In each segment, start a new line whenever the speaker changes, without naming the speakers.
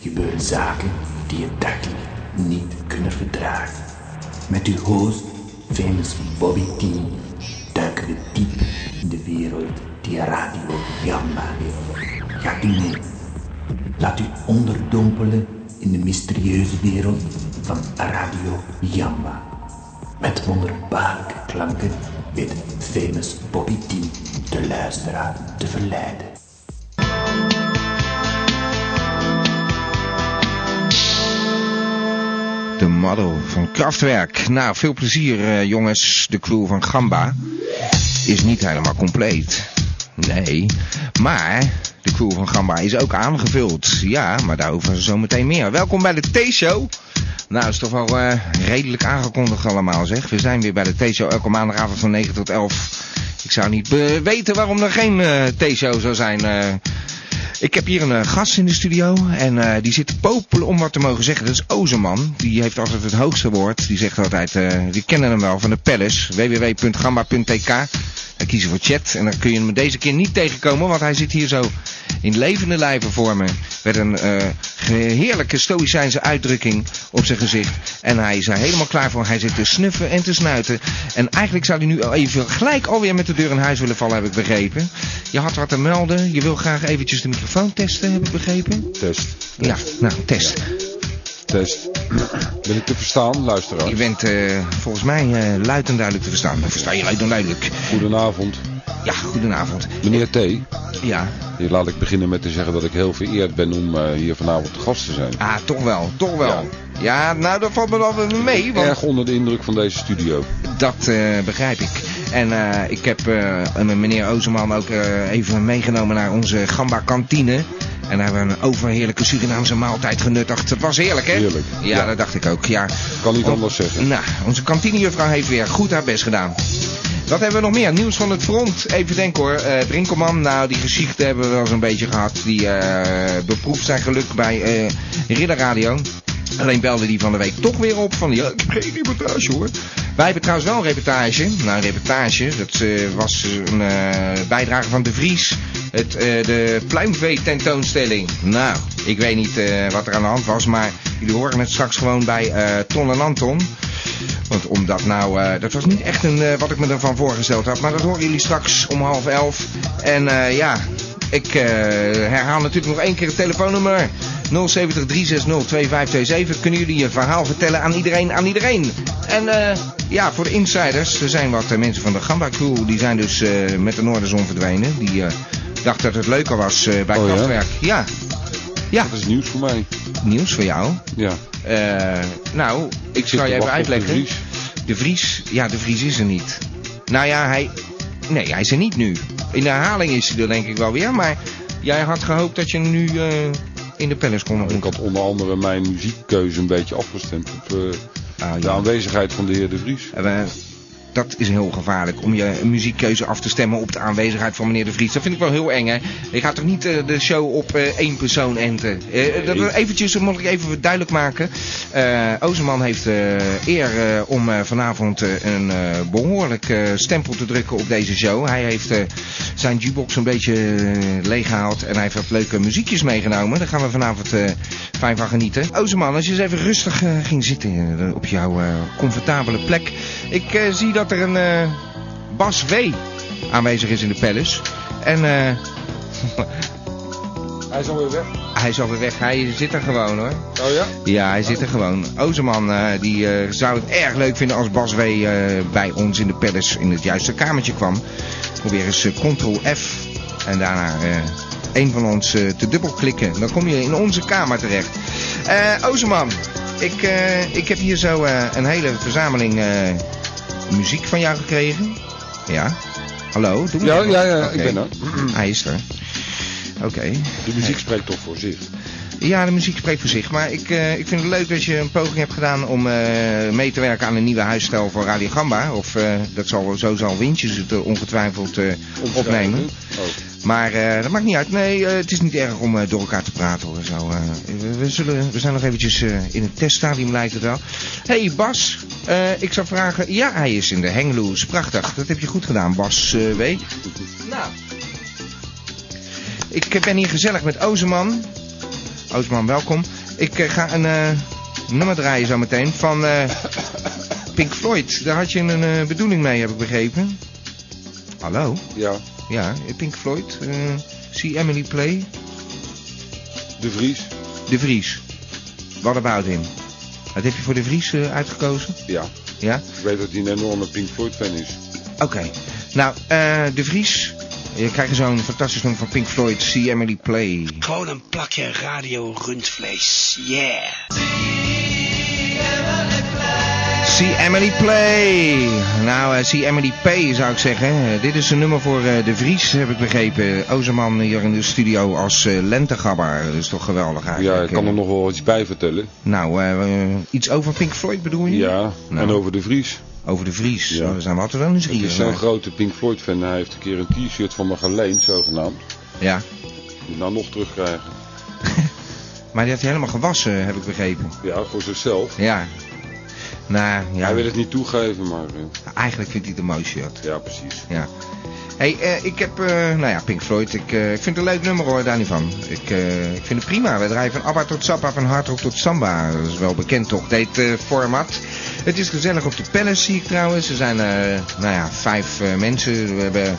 gebeuren zaken die je dagelijks niet kunnen verdragen. Met uw host, famous Bobby T, duiken we diep in de wereld die Radio Jamba heeft. Gaat u mee? Laat u onderdompelen in de mysterieuze wereld van Radio Jamba. Met wonderbaarlijke klanken weet famous Bobby T de luisteraar te verleiden.
De Model van Kraftwerk. Nou, veel plezier eh, jongens. De crew van Gamba is niet helemaal compleet. Nee, maar de crew van Gamba is ook aangevuld. Ja, maar daarover zo meteen meer. Welkom bij de T-show. Nou, is toch wel eh, redelijk aangekondigd allemaal zeg. We zijn weer bij de T-show elke maandagavond van 9 tot 11. Ik zou niet eh, weten waarom er geen eh, T-show zou zijn. eh. Ik heb hier een eh, gast in de studio en eh, die zit te popelen om wat te mogen zeggen. Dat is Ozerman. Die heeft altijd het hoogste woord. Die zegt altijd, eh die kennen hem wel van de Palace. www.gamba.tk Dan kies je voor chat en dan kun je hem deze keer niet tegenkomen. Want hij zit hier zo in levende lijven voor me. Met een eh, ge- heerlijke stoïcijnse uitdrukking op zijn gezicht. En hij is er helemaal klaar voor. Hij zit te snuffen en te snuiten. En eigenlijk zou hij nu al even gelijk alweer met de deur in huis willen vallen, heb ik begrepen. Je had wat te melden. Je wil graag eventjes de microfoon testen, heb ik begrepen.
Test,
Ja, nou, test.
test. Ben ik te verstaan, luisteraar?
Je bent eh, volgens mij eh, luid en duidelijk te verstaan. Versta je luid en duidelijk.
Goedenavond,
Ja, goedenavond.
meneer T.
Ja,
Hier laat ik beginnen met te zeggen dat ik heel vereerd ben om eh, hier vanavond te gast te zijn.
ah, toch wel, toch wel. Ja, nou, dat valt me wel weer mee, want
Erg onder de indruk van deze studio.
Dat eh, begrijp ik. En eh, ik heb eh, een meneer Ozerman ook eh, even meegenomen naar onze Gamba kantine. En daar hebben we een overheerlijke Surinaamse maaltijd genuttigd. Het was heerlijk, hè?
Heerlijk,
Ja,
ja.
dat dacht ik ook. Ja.
Kan niet
On-
anders zeggen.
Nou, onze kantinejuffrouw heeft weer goed haar best gedaan. Wat hebben we nog meer? Nieuws van het front. Even denken hoor. Eh Brinkelman, nou die geschichten hebben we wel zo'n beetje gehad. Die eh, beproefd zijn geluk bij eh Ridder Radio. Alleen belde die van de week toch weer op van ja, ik heb geen reportage hoor. Wij hebben trouwens wel een reportage. Nou, een reportage. Dat eh, was een eh, bijdrage van De Vries. Het, eh, de pluimvee tentoonstelling. Nou, ik weet niet eh, wat er aan de hand was, maar jullie horen het straks gewoon bij eh, Ton en Anton. Want omdat nou, eh, dat was niet echt een, eh, wat ik me ervan voorgesteld had. Maar dat horen jullie straks om half elf. En eh, ja, ik eh, herhaal natuurlijk nog één keer het telefoonnummer. 070 360 2527. Kunnen jullie je verhaal vertellen aan iedereen, aan iedereen. En eh, ja, voor de insiders. Er zijn wat eh, mensen van de Gamba Crew. Die zijn dus eh, met de Noorderzon verdwenen. Die eh, dacht dat het leuker was eh, bij
Oh ja?
Kraftwerk. Ja? ja,
Dat is nieuws voor mij.
nieuws voor jou.
Ja.
Eh, nou, ik
zit
zal je
te
even
wachten op de
uitleggen.
Vries.
De Vries, ja, de Vries is er niet. Nou ja, hij. Nee, hij is er niet nu. In de herhaling is hij er denk ik wel weer, maar jij had gehoopt dat je hem nu eh, in de palace kon
Ik
ontmoeten.
had onder andere mijn muziekkeuze een beetje afgestemd op eh,
Ah,
de
ja.
aanwezigheid van de heer De Vries.
Eh, dat is heel gevaarlijk, om je muziekkeuze af te stemmen op de aanwezigheid van meneer De Vries. Dat vind ik wel heel eng, hè. Je gaat toch niet eh, de show op eh, één persoon enten? Eh, dat,
Nee.
eventjes, dat moet ik even duidelijk maken. Eh Ozerman heeft eh, eer eh, om eh, vanavond eh, een eh, behoorlijk eh, stempel te drukken op deze show. Hij heeft eh, zijn jukebox een beetje eh, leeggehaald en hij heeft wat leuke muziekjes meegenomen. Daar gaan we vanavond eh, fijn van genieten. Ozerman, als je eens even rustig eh, ging zitten eh, op jouw eh, comfortabele plek. Ik eh, zie dat er een eh, Bas W. aanwezig is in de palace. En... eh,
Hij is alweer weg.
Hij is alweer weg, hij zit er gewoon hoor.
Oh ja?
Ja, hij zit er gewoon. Ozerman eh, die, eh, zou het erg leuk vinden als Bas W. eh, bij ons in de palace in het juiste kamertje kwam. Probeer eens eh, Ctrl-F en daarna eh een van ons eh, te dubbelklikken. Dan kom je in onze kamer terecht. Eh Ozerman, ik, eh, ik heb hier zo eh, een hele verzameling eh, muziek van jou gekregen. Ja. Hallo, doe me
Ja,
even-
ja, ja,
Oké.
ik ben er.
Hij is er. Oké.
De muziek spreekt toch voor zich.
Ja, de muziek spreekt voor zich. Maar ik, eh, ik vind het leuk dat je een poging hebt gedaan om eh, mee te werken aan een nieuwe huisstijl voor Radio Gamba. Of eh, dat zal, zo zal Windjes het eh, ongetwijfeld eh, opnemen.
Oh.
Maar eh, dat maakt niet uit. Nee, eh, het is niet erg om eh, door elkaar te praten hoor. Zo, eh. we, we zullen, we zijn nog eventjes eh, in het teststadium lijkt het wel. Hé hey, Bas, eh, ik zou vragen... Ja, hij is in de Hengeloes. Prachtig. Dat heb je goed gedaan, Bas eh, W. Nou. eh, Ik ben hier gezellig met Ozeman. Ozeman, welkom. Ik eh, ga een eh, nummer draaien zo meteen van eh, Pink Floyd. Daar had je een eh, bedoeling mee, heb ik begrepen. Hallo?
Ja,
Ja, Pink Floyd. eh, see Emily Play.
De Vries.
De Vries. What about him? Dat heb je voor De Vries eh, uitgekozen?
Ja,
Ja?
ik weet dat hij een enorme Pink Floyd fan is.
Oké. Nou, eh, De Vries. Je krijgt zo'n fantastisch nummer van Pink Floyd. See Emily Play.
Gewoon een plakje radio rundvlees. Yeah.
See Emily Play. Nou, eh, See Emily P zou ik zeggen. Eh, dit is een nummer voor eh, De Vries, heb ik begrepen. Ozerman hier in de studio als eh, lentegabber. Dat is toch geweldig eigenlijk.
Ja, ik kan
eh.
er nog wel iets bij vertellen.
Nou, eh, eh, iets over Pink Floyd bedoel je?
Ja,
Nou.
en over De Vries.
Over De Vries.
Ja.
Nou, we zijn wat er dan eens
Het is
hier.
zo'n grote Pink Floyd fan. Hij heeft een keer een t-shirt van me geleend, zogenaamd.
Ja.
Moet ik nou nog terugkrijgen.
Maar die had hij helemaal gewassen, heb ik begrepen.
Ja, voor zichzelf.
Ja. Nou, ja,
Hij wil het niet toegeven, maar... eh,
eigenlijk vindt hij de mooiste shirt.
Ja, precies.
Ja. hey, eh, ik heb, eh, nou ja, Pink Floyd, ik, eh, ik vind het een leuk nummer hoor, daar niet van. Ik, eh, ik vind het prima. We draaien van ABBA tot Zappa, van hardrock tot samba. Dat is wel bekend toch, dit eh, format. Het is gezellig op de Palace, zie ik trouwens. Er zijn, eh, nou ja, vijf eh, mensen. We hebben,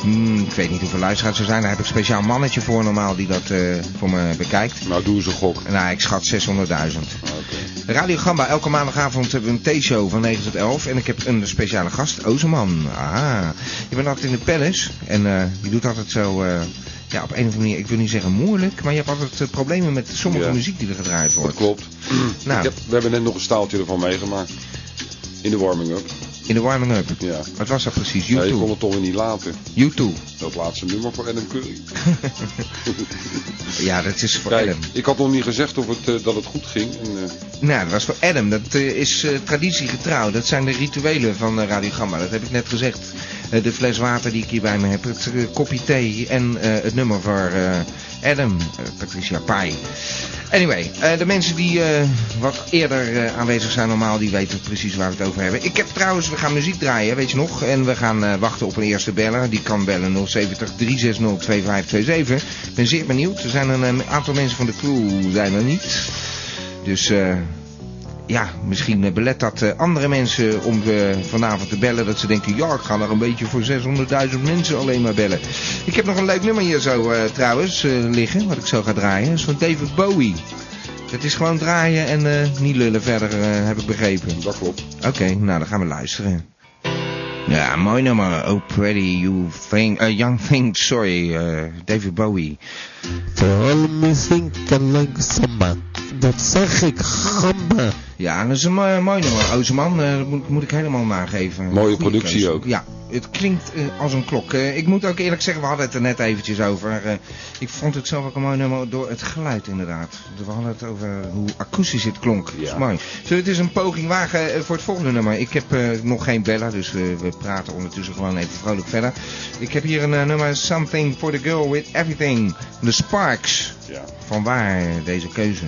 hmm, ik weet niet hoeveel luisteraars er zijn. Daar heb ik een speciaal mannetje voor normaal die dat eh, voor me bekijkt.
Nou, doe eens een gok. Nou,
Nou, ik schat 600.000.
Oké.
Radio Gamba, elke maandagavond hebben we een T-show van 9 tot 11. En ik heb een speciale gast, Ozerman. Ah, je bent altijd in de palace. En eh, je doet altijd zo, eh, ja, op een of andere manier, ik wil niet zeggen moeilijk. Maar je hebt altijd eh, problemen met sommige
Ja.
muziek die er gedraaid
Dat
wordt.
klopt.
Nou.
Ik heb, we hebben net nog een staaltje ervan meegemaakt. In de warming-up.
In de warming-up.
Ja.
Wat was dat precies?
Ja, ik kon
YouTube.
het toch weer niet laten.
YouTube.
Dat laatste nummer voor Adam Curry.
Ja, dat is voor
Kijk,
Adam.
ik had nog niet gezegd of het, eh, dat het goed ging. En, eh,
Nou, dat was voor Adam. Dat eh, is eh, traditie getrouw. Dat zijn de rituelen van eh, Radio Gamma. Dat heb ik net gezegd. Eh, de fles water die ik hier bij me heb. Het eh, kopje thee. En eh, het nummer voor eh, Adam. eh, Patricia Pai. Anyway, eh, de mensen die eh, wat eerder eh, aanwezig zijn normaal, die weten precies waar we het over hebben. Ik heb trouwens, we gaan muziek draaien, weet je nog. En we gaan eh, wachten op een eerste beller. Die kan bellen 070 360 2527. Ik ben zeer benieuwd. Er zijn een eh, aantal mensen van de crew, zijn er niet. Dus eh, ja, misschien eh, belet dat eh, andere mensen om eh, vanavond te bellen. Dat ze denken, ja, ik ga er een beetje voor 600.000 mensen alleen maar bellen. Ik heb nog een leuk nummer hier zo eh, trouwens eh, liggen, wat ik zo ga draaien. Dat is van David Bowie. Het is gewoon draaien en eh, niet lullen verder, eh, heb ik begrepen.
dat klopt.
Oké, nou dan gaan we luisteren. Ja, mooi nummer. Oh, pretty you thing, eh, young thing, sorry, eh, David Bowie.
For all missing like samba. Dat zeg ik, gamba.
Ja, dat is een mooi, mooi nummer, Ozeman. eh, dat moet, moet ik helemaal nageven.
Mooie
Goeie
productie
keuze.
ook.
Ja, het klinkt eh, als een klok. Eh, ik moet ook eerlijk zeggen, we hadden het er net eventjes over. eh, ik vond het zelf ook een mooi nummer door het geluid inderdaad. We hadden het over hoe akoestisch het klonk. Dat is
Ja.
mooi. Zullen we het eens een poging wagen eh, voor het volgende nummer? Ik heb eh, nog geen bella, dus eh, we praten ondertussen gewoon even vrolijk verder. Ik heb hier een eh, nummer, Something for the Girl with Everything. The Sparks.
Ja.
Vanwaar deze keuze?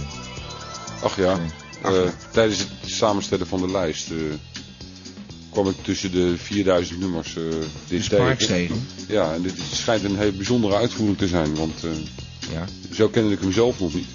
Ach ja,
Ach
eh,
ja.
tijdens het samenstellen van de lijst eh, kwam ik tussen de 4000 nummers eh
De
dit
Sparks tegen.
Ja, en dit schijnt een heel bijzondere uitvoering te zijn, want eh,
Ja.
zo kende ik hem zelf nog niet.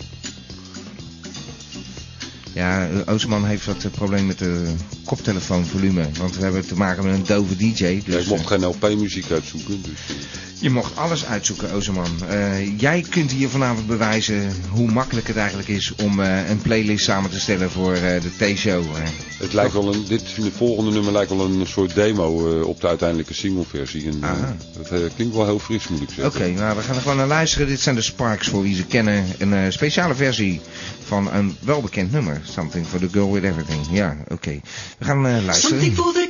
Ja, Oosterman heeft wat eh, probleem met de koptelefoonvolume. Want we hebben te maken met een dove DJ.
Ja, ik
Dus
mocht
eh,
geen LP-muziek uitzoeken, dus eh,
je mocht alles uitzoeken, Oosterman. Eh, jij kunt hier vanavond bewijzen hoe makkelijk het eigenlijk is om eh, een playlist samen te stellen voor eh, de T-show. eh.
het lijkt wel een, dit de volgende nummer lijkt wel een soort demo eh, op de uiteindelijke singleversie. En, eh,
Aha.
dat eh, klinkt wel heel fris, moet ik zeggen.
Oké, nou we gaan er gewoon naar luisteren. Dit zijn de Sparks voor wie ze kennen. Een eh, speciale versie van een welbekend nummer. Something for the girl with everything. Ja, oké. We gaan eh, luisteren.
Something for the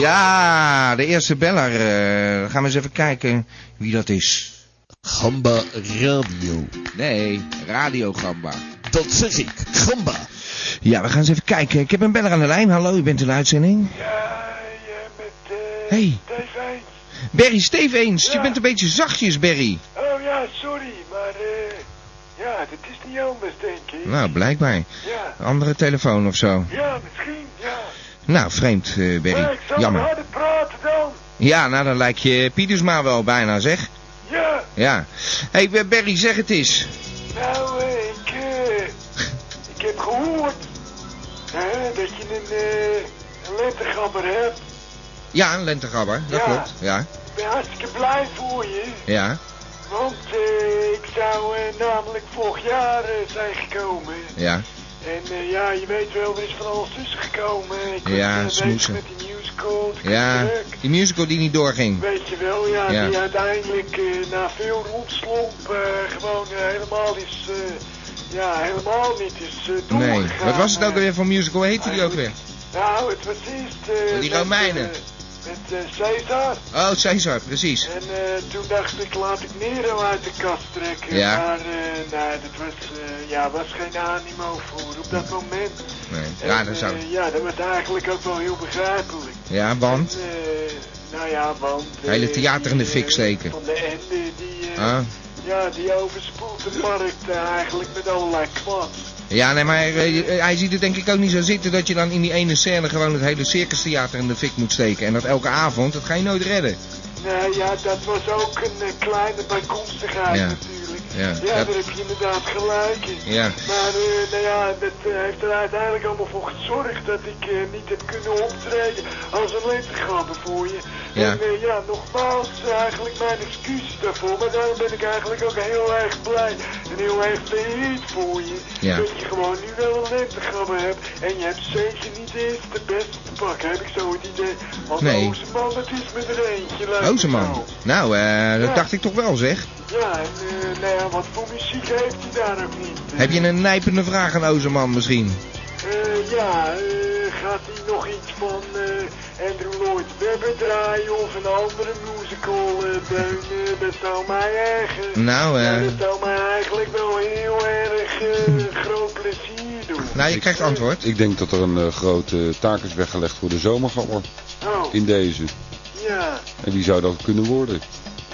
Ja, de eerste beller. eh, dan gaan we eens even kijken wie dat is.
Gamba Radio.
Nee, Radio Gamba.
Dat zeg ik, gamba.
Ja, we gaan eens even kijken. Ik heb een beller aan de lijn. Hallo, u bent in de uitzending.
Ja, jij bent eh
Hey.
Stefijn.
Berry Steveens, je
Ja.
bent een beetje zachtjes, Berry.
Oh ja, sorry, maar eh ja, dit is niet anders, denk ik.
Nou, blijkbaar.
Ja,
Andere telefoon of zo.
ja, misschien, ja.
Nou, vreemd, eh
Maar
Berry.
ik zal
Jammer.
harder praten dan.
Ja, nou dan lijkt je Pieters maar wel dus bijna, zeg.
Ja,
Ja. Hé, hey, eh, Berry, zeg het eens.
Nou, eh, ik, eh, ik heb gehoord hè, dat je een, eh, een lentegabber hebt.
Ja, een lentegabber, dat
Ja.
klopt. Ja,
Ik ben hartstikke blij voor je,
ja,
want eh, ik zou eh, namelijk vorig jaar eh, zijn gekomen.
ja.
En eh, ja, je weet wel, er is van alles tussen gekomen. Ik
Ja,
was eh, bezig
smoesen.
met die musical, het
Ja,
druk.
die musical die niet doorging.
Weet je wel, ja,
Ja.
die uiteindelijk eh, na veel rondslomp eh, gewoon eh, helemaal is, eh, ja, helemaal niet is eh,
Nee.
doorgegaan.
Wat was het ook alweer voor musical? Hoe heette die ook weer?
eigenlijk- Nou, het was eerst... eh,
Met die
met,
Romeinen.
eh, Met eh, Caesar.
Oh, Caesar, precies.
En eh, toen dacht ik, laat ik Nero uit de kast trekken.
Ja.
Maar eh, nou, dat was, eh, ja, was geen animo voor op dat moment.
Nee. Ja,
En,
dat
eh,
zou...
ja, dat was eigenlijk ook wel heel begrijpelijk.
Ja, want...
Eh, nou ja, want... eh,
Hele theater in de
die,
fik
eh,
steken.
Van de ende, die, eh,
Ah.
ja, die overspoelt de markt eh, eigenlijk met allerlei kwad.
Ja, nee, maar eh, hij ziet het denk ik ook niet zo zitten dat je dan in die ene scène gewoon het hele circustheater in de fik moet steken. En dat elke avond, dat ga je nooit redden.
Nou ja, dat was ook een eh, kleine bijkomstigheid
Ja.
natuurlijk.
Ja,
daar
dat-
heb je inderdaad gelijk in.
Ja.
Maar eh, nou ja, dat eh, heeft er uiteindelijk allemaal voor gezorgd dat ik eh, niet heb kunnen optreden als een lentegrapper voor je.
Ja.
En eh, ja, nogmaals, eh, eigenlijk mijn excuses daarvoor. Maar daarom ben ik eigenlijk ook heel erg blij en heel erg vereerd voor je.
Ja.
Dat je gewoon nu wel een lentegrapper hebt. En je hebt zeker niet eens de beste te pakken, heb ik zo het idee. Want
Nee.
Ozeman, het is met er eentje. luister nou.
Rozeman. Nou, eh, dat dacht ik toch wel zeg.
Ja, en eh, nou ja, wat voor muziek heeft hij daar ook niet? eh?
Heb je een nijpende vraag aan Ozeman misschien?
Eh, ja, eh, gaat hij nog iets van eh, Andrew Lloyd Webber draaien of een andere musical? eh Deun, eh, dat zou mij erg... eh,
Nou, eh,
ja, dat zou mij eigenlijk wel heel erg eh, groot plezier doen.
Nou, je krijgt antwoord.
Ik denk dat er een eh, grote taak is weggelegd voor de zomergabber
Oh,
in deze.
ja,
En die zou dat kunnen worden.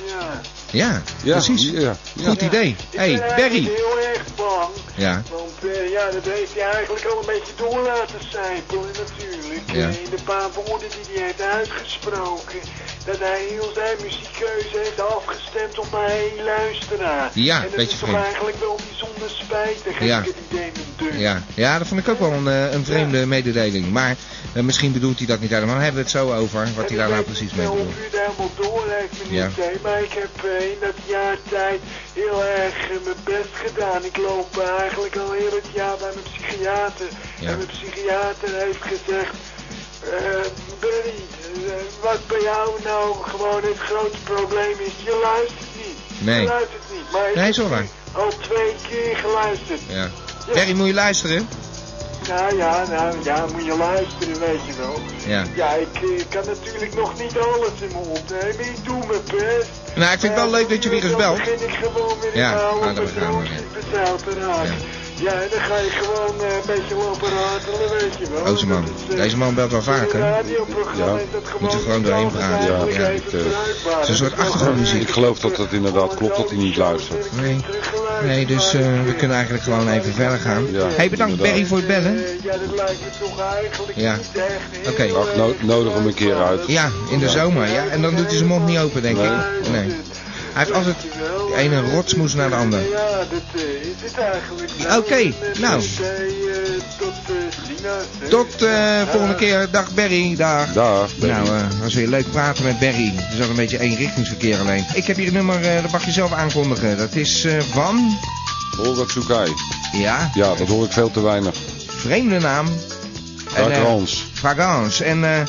ja.
Ja,
Ja,
precies.
Ja, ja.
Goed idee.
Ik
hey,
ben eigenlijk
Berry.
heel erg bang.
Ja.
Want eh, ja, dat heeft hij eigenlijk al een beetje door laten sijpelen natuurlijk.
Ja.
Eh, in de paar woorden die hij heeft uitgesproken. Dat hij heel zijn muziekkeuze heeft afgestemd op maar één luisteraar.
Ja,
en dat
beetje
is toch
vreemd.
eigenlijk wel bijzonder spijtig.
Ja.
Heb ik het idee met deur.
Ja. ja, dat vond ik ook wel een, eh, een vreemde mededeling. Maar eh, misschien bedoelt hij dat niet helemaal. Daar hebben we het zo over, wat hij daar nou precies mee
Ik
bedoelt.
weet niet of u het helemaal door heeft,
Ja.
meneer T, maar ik heb eh, in dat jaar tijd heel erg eh, mijn best gedaan. Ik loop eh, eigenlijk al heel het jaar bij mijn psychiater.
Ja.
En mijn psychiater heeft gezegd, eh Berry, eh, wat bij jou nou gewoon het grote probleem is, je luistert niet.
Nee.
Je luistert niet. Maar ik
Nee,
heb
is wel waar.
Al twee keer geluisterd.
Ja.
Ja.
Berry, moet je luisteren?
Nou ja, nou ja, moet je luisteren, weet je wel.
Ja.
Ja, ik, eh, kan natuurlijk nog niet alles in me opnemen. Ik doe mijn best.
Nou, ik vind het wel
Eh,
leuk dat je weer eens
dan
belt.
begin ik gewoon weer
Ja,
in mijn oude
ah, daar gaan we weer.
bedroefdheid bezig te raken.
Ja.
Ja, en dan ga je gewoon eh, een beetje lopen ratelen, weet je wel.
Ozeman.
Dat is, eh,
Deze man belt wel vaker.
in een radioprogramma
Ja.
is dat gewoon...
Moet je gewoon doorheen praten.
Ja, ja,
ik,
ik, eh,
het is een soort achtergrondmuziek.
Ik geloof dat dat inderdaad klopt, dat hij niet luistert.
Nee. Nee, dus eh, we kunnen eigenlijk gewoon even verder gaan.
Ja,
hey, bedankt
inderdaad.
Berry voor het bellen.
Eh, Ja, dat lijkt me toch eigenlijk
Ja.
niet echt.
Oké.
heel
Ach, no-
erg
nodig hem een keer uit.
Ja, in de
Ja.
zomer. Ja, en dan doet hij zijn mond niet open, denk ik. Nee. Hij heeft altijd de ene rotsmoes naar de ander.
Ja, dat eh, is het eigenlijk.
Oké, nou.
zij, eh, tot eh, China, hè.
Tot eh volgende keer. Dag Berry. Dag.
Dag. Benny.
Nou, eh was weer leuk praten met Berry. Het is al een beetje eenrichtingsverkeer alleen. Ik heb hier een nummer, eh, dat mag je zelf aankondigen. Dat is eh, van,
Holger Tsukai.
ja,
Ja, dat hoor ik veel te weinig.
vreemde naam. En, eh,
Dag Hans.
Fragance. En eh,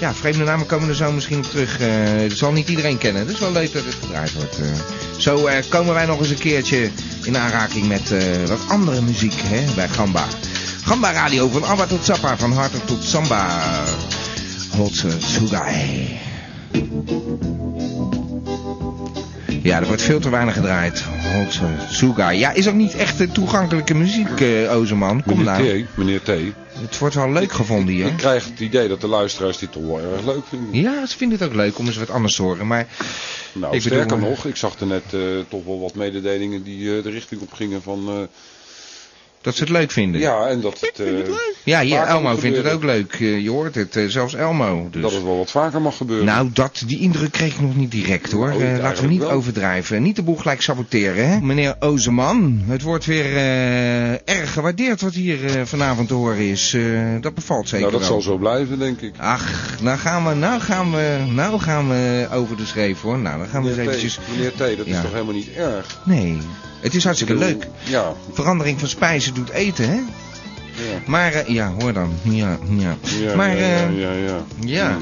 ja, vreemde namen komen er zo misschien op terug. Eh, dat zal niet iedereen kennen. Het is wel leuk dat het gedraaid wordt. eh. Zo eh, komen wij nog eens een keertje in aanraking met eh, wat andere muziek hè, bij Gamba. Gamba Radio, van Abba tot Zappa, van Harter tot Samba. Hotse Tsugai. Ja, er wordt veel te weinig gedraaid. Hotse Tsugai. Ja, is ook niet echt eh, toegankelijke muziek, eh Ozeman. Kom nou.
Meneer T. Meneer T.
Het wordt wel leuk gevonden hier.
Ik krijg het idee dat de luisteraars dit toch wel erg leuk vinden.
Ja, ze vinden het ook leuk om eens wat anders te horen. Maar
Nou,
Ik
sterker
bedoel-
nog, ik zag er net eh, toch wel wat mededelingen die eh, de richting op gingen van... eh,
dat ze het leuk vinden.
ja, en dat het... eh,
leuk. Ja, hier,
Vaker
Elmo
moet
vindt het ook
gebeuren.
leuk. Eh, je hoort het, eh, zelfs Elmo. Dus.
Dat het wel wat vaker mag gebeuren.
Nou, dat, die indruk kreeg ik nog niet direct hoor.
Oh,
Eh, laten we
eigenlijk
niet
wel.
overdrijven. Niet de boel gelijk saboteren, hè? Meneer Ozeman, het wordt weer eh, erg gewaardeerd wat hier eh, vanavond te horen is. Eh, dat bevalt zeker
Nou, dat
wel.
zal zo blijven, denk ik.
Ach, nou gaan, we, nou, gaan we, nou gaan we over de schreef hoor. Nou, dan gaan we eens
Meneer T,
eventjes...
meneer T, dat
Ja.
is toch helemaal niet erg?
Nee, het is hartstikke
Ik bedoel,
leuk.
Ja,
Verandering van spijzen doet eten, hè?
ja.
Maar, eh, ja, hoor dan. Ja, ja.
Ja,
maar,
ja, ja,
eh,
ja, ja.
ja.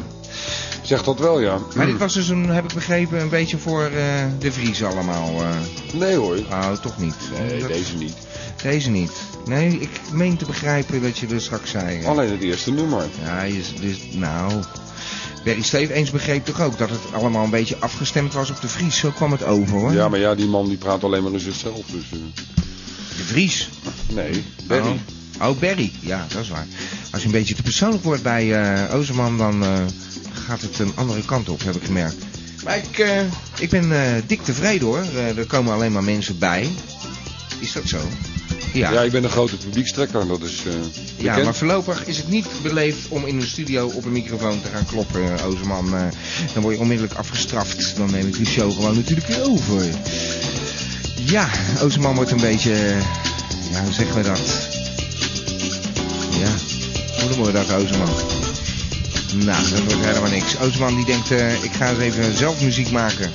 Zeg dat wel, ja. Hm.
Maar dit was dus, een, heb ik begrepen, een beetje voor eh, de Vries allemaal. eh.
Nee hoor.
Oh, toch niet.
Nee,
Dat-
deze niet.
Deze niet. Nee, ik meen te begrijpen dat je er straks zei. eh.
Alleen het eerste nummer.
Ja, je, is- dus, nou... Barry Steve eens begreep toch ook dat het allemaal een beetje afgestemd was op de Vries. Zo kwam het over, hoor.
Ja, maar ja, die man die praat alleen maar in zichzelf. Dus, eh,
De Vries.
nee, Barry.
Oh. Oh, Barry. Ja, dat is waar. Als je een beetje te persoonlijk wordt bij eh Ozerman, dan eh, gaat het een andere kant op, heb ik gemerkt. Maar ik, eh, ik ben eh, dik tevreden, hoor. Eh, er komen alleen maar mensen bij. Is dat zo?
Ja. ik ben een grote publiekstrekker. Dat is eh
Ja,
bekend.
maar voorlopig is het niet beleefd om in een studio op een microfoon te gaan kloppen, eh, Ozerman. Eh, dan word je onmiddellijk afgestraft. Dan neem ik die show gewoon natuurlijk weer over. Ja, Ozerman wordt een beetje... eh, Ja, hoe zeggen we dat? Ja, hoe noemen we dat, Ozerman? Nou, dat wordt helemaal niks. Ozerman die denkt, eh, ik ga eens even zelf muziek maken.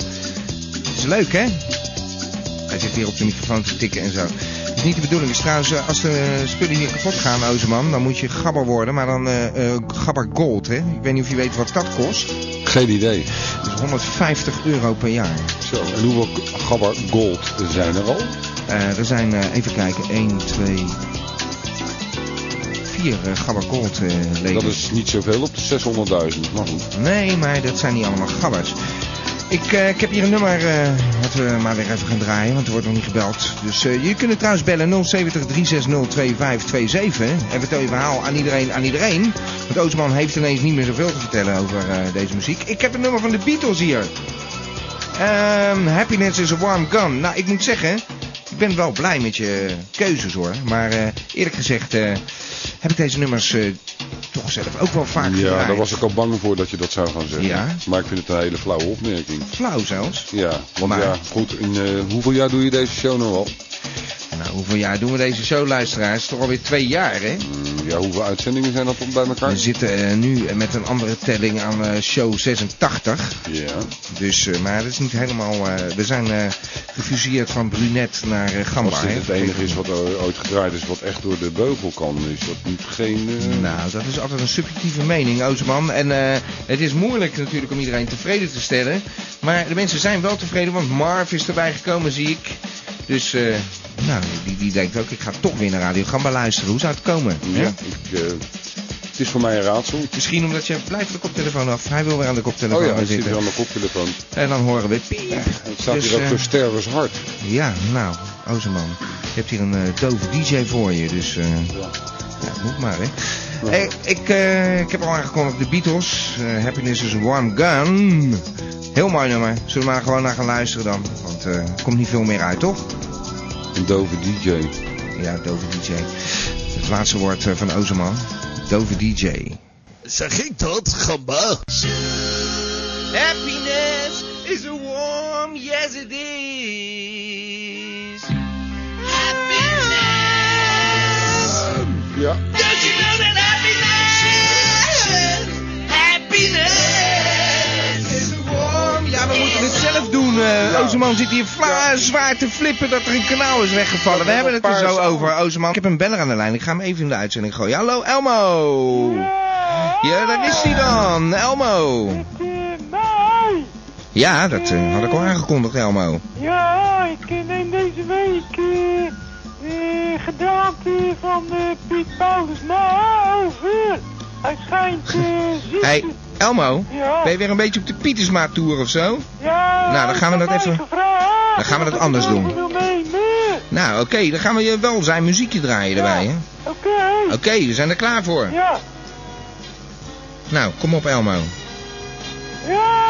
Is leuk, hè? Hij zit weer op de microfoon te tikken en zo. Dat is niet de bedoeling. Dus trouwens, eh, als de eh, spullen hier kapot gaan, Ozeman, dan moet je gabber worden. Maar dan eh, eh, gabber gold, hè? Ik weet niet of je weet wat dat kost.
Geen idee.
Dat is 150 euro per jaar.
Zo, en hoeveel gabber gold zijn er al?
Eh, er zijn, eh, even kijken, 1, 2, 4 eh gabber gold eh
Dat
leden.
is niet zoveel op de 600.000. Maar goed.
Nee, maar dat zijn niet allemaal gabbers. Ik, eh, ik heb hier een nummer eh, wat we maar weer even gaan draaien, want er wordt nog niet gebeld. Dus eh jullie kunnen trouwens bellen 070 360 2527 en vertel je verhaal aan iedereen, aan iedereen. Want Oosman heeft ineens niet meer zoveel te vertellen over eh, deze muziek. Ik heb een nummer van de Beatles hier. Ehm, happiness is a warm gun. Nou, ik moet zeggen, ik ben wel blij met je keuzes hoor. Maar eh, eerlijk gezegd eh, heb ik deze nummers eh, toch zelf ook wel vaak
Ja,
gedraaid.
daar was ik al bang voor dat je dat zou gaan zeggen.
Ja.
Maar ik vind het een hele flauwe opmerking.
Flauw zelfs.
Ja, want
Maar-
ja, goed, in, eh, hoeveel jaar doe je deze show nou al?
Nou, hoeveel jaar doen we deze show, luisteraars? Toch alweer twee jaar, hè?
Mm, Ja, hoeveel uitzendingen zijn dat bij elkaar?
We zitten eh, nu met een andere telling aan eh, show 86.
Ja,
Dus, eh, maar dat is niet helemaal... eh, we zijn eh, gefuseerd van brunet naar eh, gamba,
als dit
hè?
het enige is wat er ooit gedraaid is wat echt door de beugel kan, is dat niet geen... eh,
Nou, dat is altijd een subjectieve mening, Oosman. En eh, het is moeilijk natuurlijk om iedereen tevreden te stellen. Maar de mensen zijn wel tevreden, want Marv is erbij gekomen, zie ik. Dus, eh, nou, die, die denkt ook, ik ga toch weer naar Radio Gamba luisteren. Hoe zou het komen? hè?
Ja, ik, eh, het is voor mij een raadsel.
Misschien omdat je blijft de koptelefoon af. Hij wil weer aan de koptelefoon
Oh ja,
gaan
hij zit
zitten.
weer aan de koptelefoon.
En dan horen we piep.
Het staat
Dus,
hier ook
eh,
voor Stervers Hart.
Ja, nou, Ozeman. Je hebt hier een eh, dove DJ voor je, dus... eh, ja, moet maar, hè. Hey, ik, eh, ik heb al aangekondigd de Beatles. eh, Happiness is a Warm Gun. Heel mooi nummer. Zullen we maar gewoon naar gaan luisteren dan? Want eh, er komt niet veel meer uit, toch?
Een dove DJ.
Ja, dove DJ. Het laatste woord eh, van Ozeman. Dove DJ.
Zeg ik dat, gamba?
Happiness is a warm, yes it is. Happiness.
Ja.
Don't you know that happiness? Happiness
Is a warm. Ja, we moeten het zelf doen. eh Ozeman zit hier fla- zwaar te flippen dat er een kanaal is weggevallen. We hebben het er zo over, Ozeman. Ik heb een beller aan de lijn. Ik ga hem even in de uitzending gooien. Hallo, Elmo. Ja, daar is hij dan. Elmo.
Nee!
Ja, dat eh, had ik al aangekondigd, Elmo.
Ja, ik eh, neem deze week eh eh, gedaante van eh, Piet Paulus na over. Hij schijnt eh ziek.
Hey,
te-
Elmo.
Ja.
Ben je weer een beetje op de Pietersmaat tour of zo?
Ja,
Nou, dan gaan we dat even- dan gaan we dat anders doen.
Oké.
Nou, oké, dan gaan we je wel zijn muziekje draaien
Ja.
erbij, hè? Oké, we zijn er klaar voor.
Ja.
Nou, kom op, Elmo.
Ja.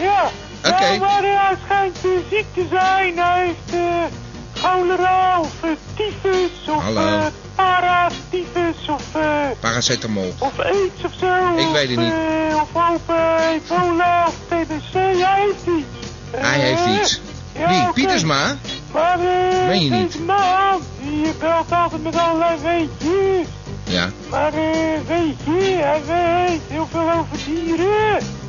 Ja.
Oké.
Ja, maar eh, hij schijnt eh, ziek te zijn. Hij heeft eh cholera of eh, tyfus of
Hallo.
eh, paratyfus of, eh,
Paracetamol.
of aids of zo.
Ik weet het
of,
niet.
eh, of ook eh, ebola of TBC, hij heeft iets.
Hij heeft iets.
Ja,
Wie?
oké.
Pietersma?
Maar eh,
Meen je niet?
deze man, die belt altijd met allerlei weetjes.
Ja.
Maar eh, weet je, hij weet heel veel over dieren.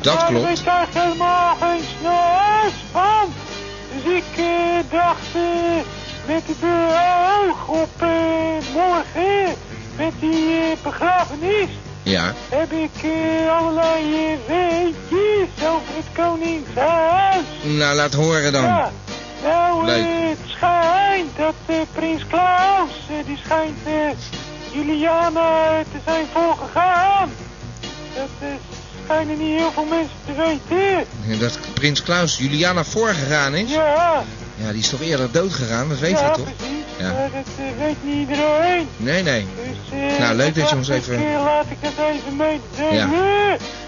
Dat
maar
klopt.
ik weet daar helemaal geen snars van. Dus ik eh, dacht eh, met het eh, oog op eh, morgen, met die eh, begrafenis,
Ja.
heb ik eh, allerlei eh, weetjes over het koningshuis.
Nou, laat horen dan.
Ja. Nou, eh,
Leuk.
het schijnt dat eh, prins Klaus, eh, die schijnt eh, Juliana eh, te zijn voorgegaan. Dat eh, schijnen niet heel veel mensen te weten.
Dat prins Klaus Juliana voorgegaan is.
Ja,
Ja, die is toch eerder dood gegaan? Dat weten
ja
we toch?
precies.
Ja.
Maar dat eh, weet niet iedereen.
Nee, nee.
Dus, eh,
Nou, leuk dat je ons
dacht
even-
ik, eh, laat ik dat even meedelen. Ja.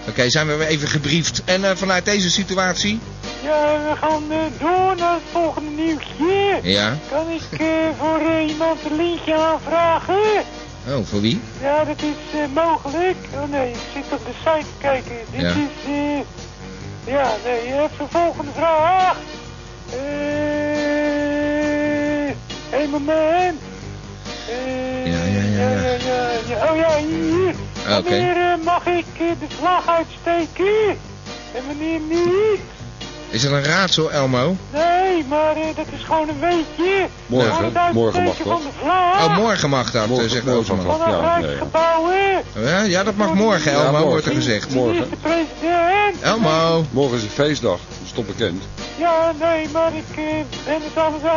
Oké, zijn we weer even gebriefd. En eh, vanuit deze situatie?
we gaan eh, door naar het volgende nieuwsje.
Ja.
Kan ik eh, voor eh, iemand een liedje aanvragen?
Oh, voor wie?
Ja, dat is eh, mogelijk. Oh nee, ik zit op de site te kijken. Dit
Ja.
is... eh, ja, nee, even volgende vraag. Eh, hey, moment. Eh,
Ja, ja, ja, ja.
ja, ja. Oh ja, hier.
Oké.
Wanneer eh, mag ik eh, de vlag uitsteken? En wanneer niet?
Is het een raadsel, Elmo?
Nee, maar eh, dat is gewoon een weetje.
Morgen,
Gewoon het uitsteken
morgen mag dat.
van de vlag.
Oh, morgen mag dat, eh,
Morgen-
zegt
morgen
Roosman.
mag
Van een
Ja, nee.
rijksgebouw, hè.
Ja, ja, dat mag morgen,
Ja,
Elmo,
morgen.
wordt er gezegd.
Morgen.
Minister-president.
Elmo.
Morgen is een feestdag, dat is toch bekend?
Ja, nee, maar ik eh, ben het aan het eh,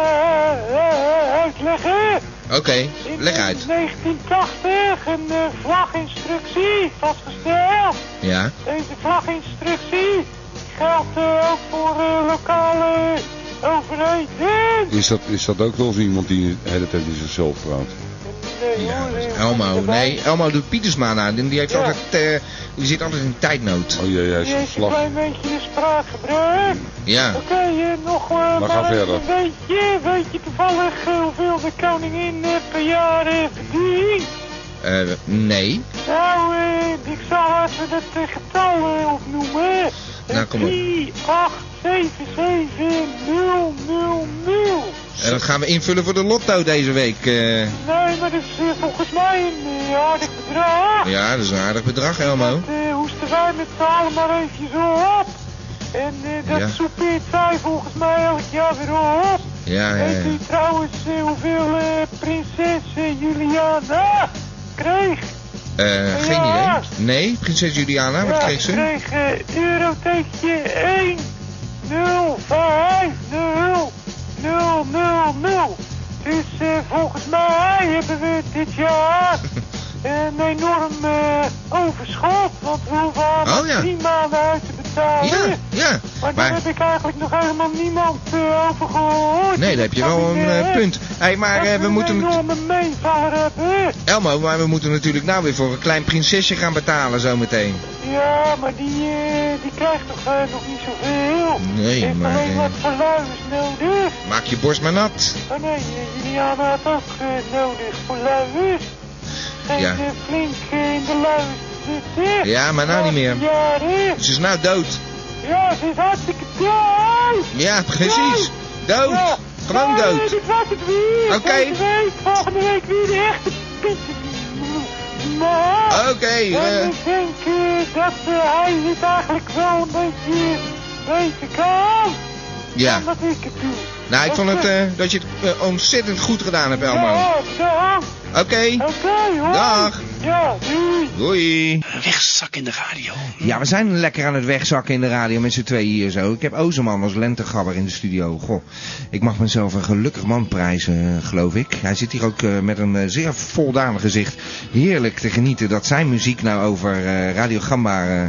eh, uitleggen.
Oké,
In
leg uit.
1980 een eh, vlaginstructie vastgesteld.
Ja,
Deze vlaginstructie geldt eh, ook voor eh, lokale overheden.
Is dat, is dat ook wel eens iemand die de hele tijd in zichzelf praat?
Nee,
ja,
hoor,
dat is
eh,
Elmo.
erbij.
Nee, Elmo doet Pietersma na. Die, heeft
Ja.
altijd, eh, die zit altijd in tijdnood.
Oh jee, hij is
Die heeft een
verslag.
klein beetje een spraakgebruik.
Ja,
Oké, eh, nog eh,
Maar ga
maar
verder.
even weet je, weet je toevallig eh, hoeveel de koningin eh, per jaar eh, verdient?
eh, nee.
Nou, eh, ik zal even dat eh, getal eh, opnoemen. Eh,
Nou, kom op.
3, 8, 7, 7, 0, 0, 0.
En Eh, dat gaan we invullen voor de lotto deze week. eh.
Nee, maar dat is eh, volgens mij een eh, aardig bedrag.
ja, dat is een aardig bedrag, Elmo.
Dat eh, hoesten wij met z'n allen maar even zo op. En eh, dat
Ja.
soupeert zij volgens mij elk jaar weer op.
Ja, ja,
Weet
ja.
u trouwens eh, hoeveel eh, prinses eh, Juliana kreeg?
Eh, geen
Ja.
idee. Nee, prinses Juliana, wat
Ja,
kreeg ze?
kreeg eh, eurotekentje 1 0 5 0 0 0 0. Dus eh, volgens mij hebben we dit jaar een enorm eh, overschot. Want we hoeven haar maar
Oh, ja.
drie maanden uit te betalen.
Ja, ja.
Maar daar
Maar,
heb ik eigenlijk nog helemaal niemand eh, over gehoord.
nee, daar heb je wel een eh, punt. Hé, maar eh, we moeten...
een
nat-
enorme meevaller hebben.
Elmo, maar we moeten natuurlijk nou weer voor een klein prinsesje gaan betalen zometeen.
Ja, maar die, eh, die krijgt toch eh, nog niet zoveel?
Nee,
Heeft
maar,
alleen
eh,
wat verluiers nodig.
Maak je borst maar nat.
Oh nee, eh, Juliana had ook eh, nodig verluiers. Geen
Ja.
eh, flink eh, in de luiers te zitten.
Ja, maar nou niet meer.
Ja, hè?
Ze is nou dood.
ja, ze is hartstikke dood.
Ja, precies. Dood. Gewoon
Maar, eh,
dood.
Dit was het weer.
Oké.
Deze week, volgende week weer de echte Piet. Maar...
Oké,
En
eh,
ik denk eh, dat eh, hij het eigenlijk wel een beetje beter kan
ja.
dan dat ik het doe.
Nou, ik vond het eh, dat je het eh, ontzettend goed gedaan hebt, Elmo.
Ja, ja,
Oké,
oké hoor.
Dag.
Ja, doei.
doei.
Wegzak in de radio. Hm.
Ja, we zijn lekker aan het wegzakken in de radio met z'n tweeën hier zo. Ik heb Ozerman als lentegabber in de studio. Goh, ik mag mezelf een gelukkig man prijzen, eh, geloof ik. Hij zit hier ook eh, met een eh, zeer voldaan gezicht. Heerlijk te genieten dat zijn muziek nou over eh, Radio Gamba eh,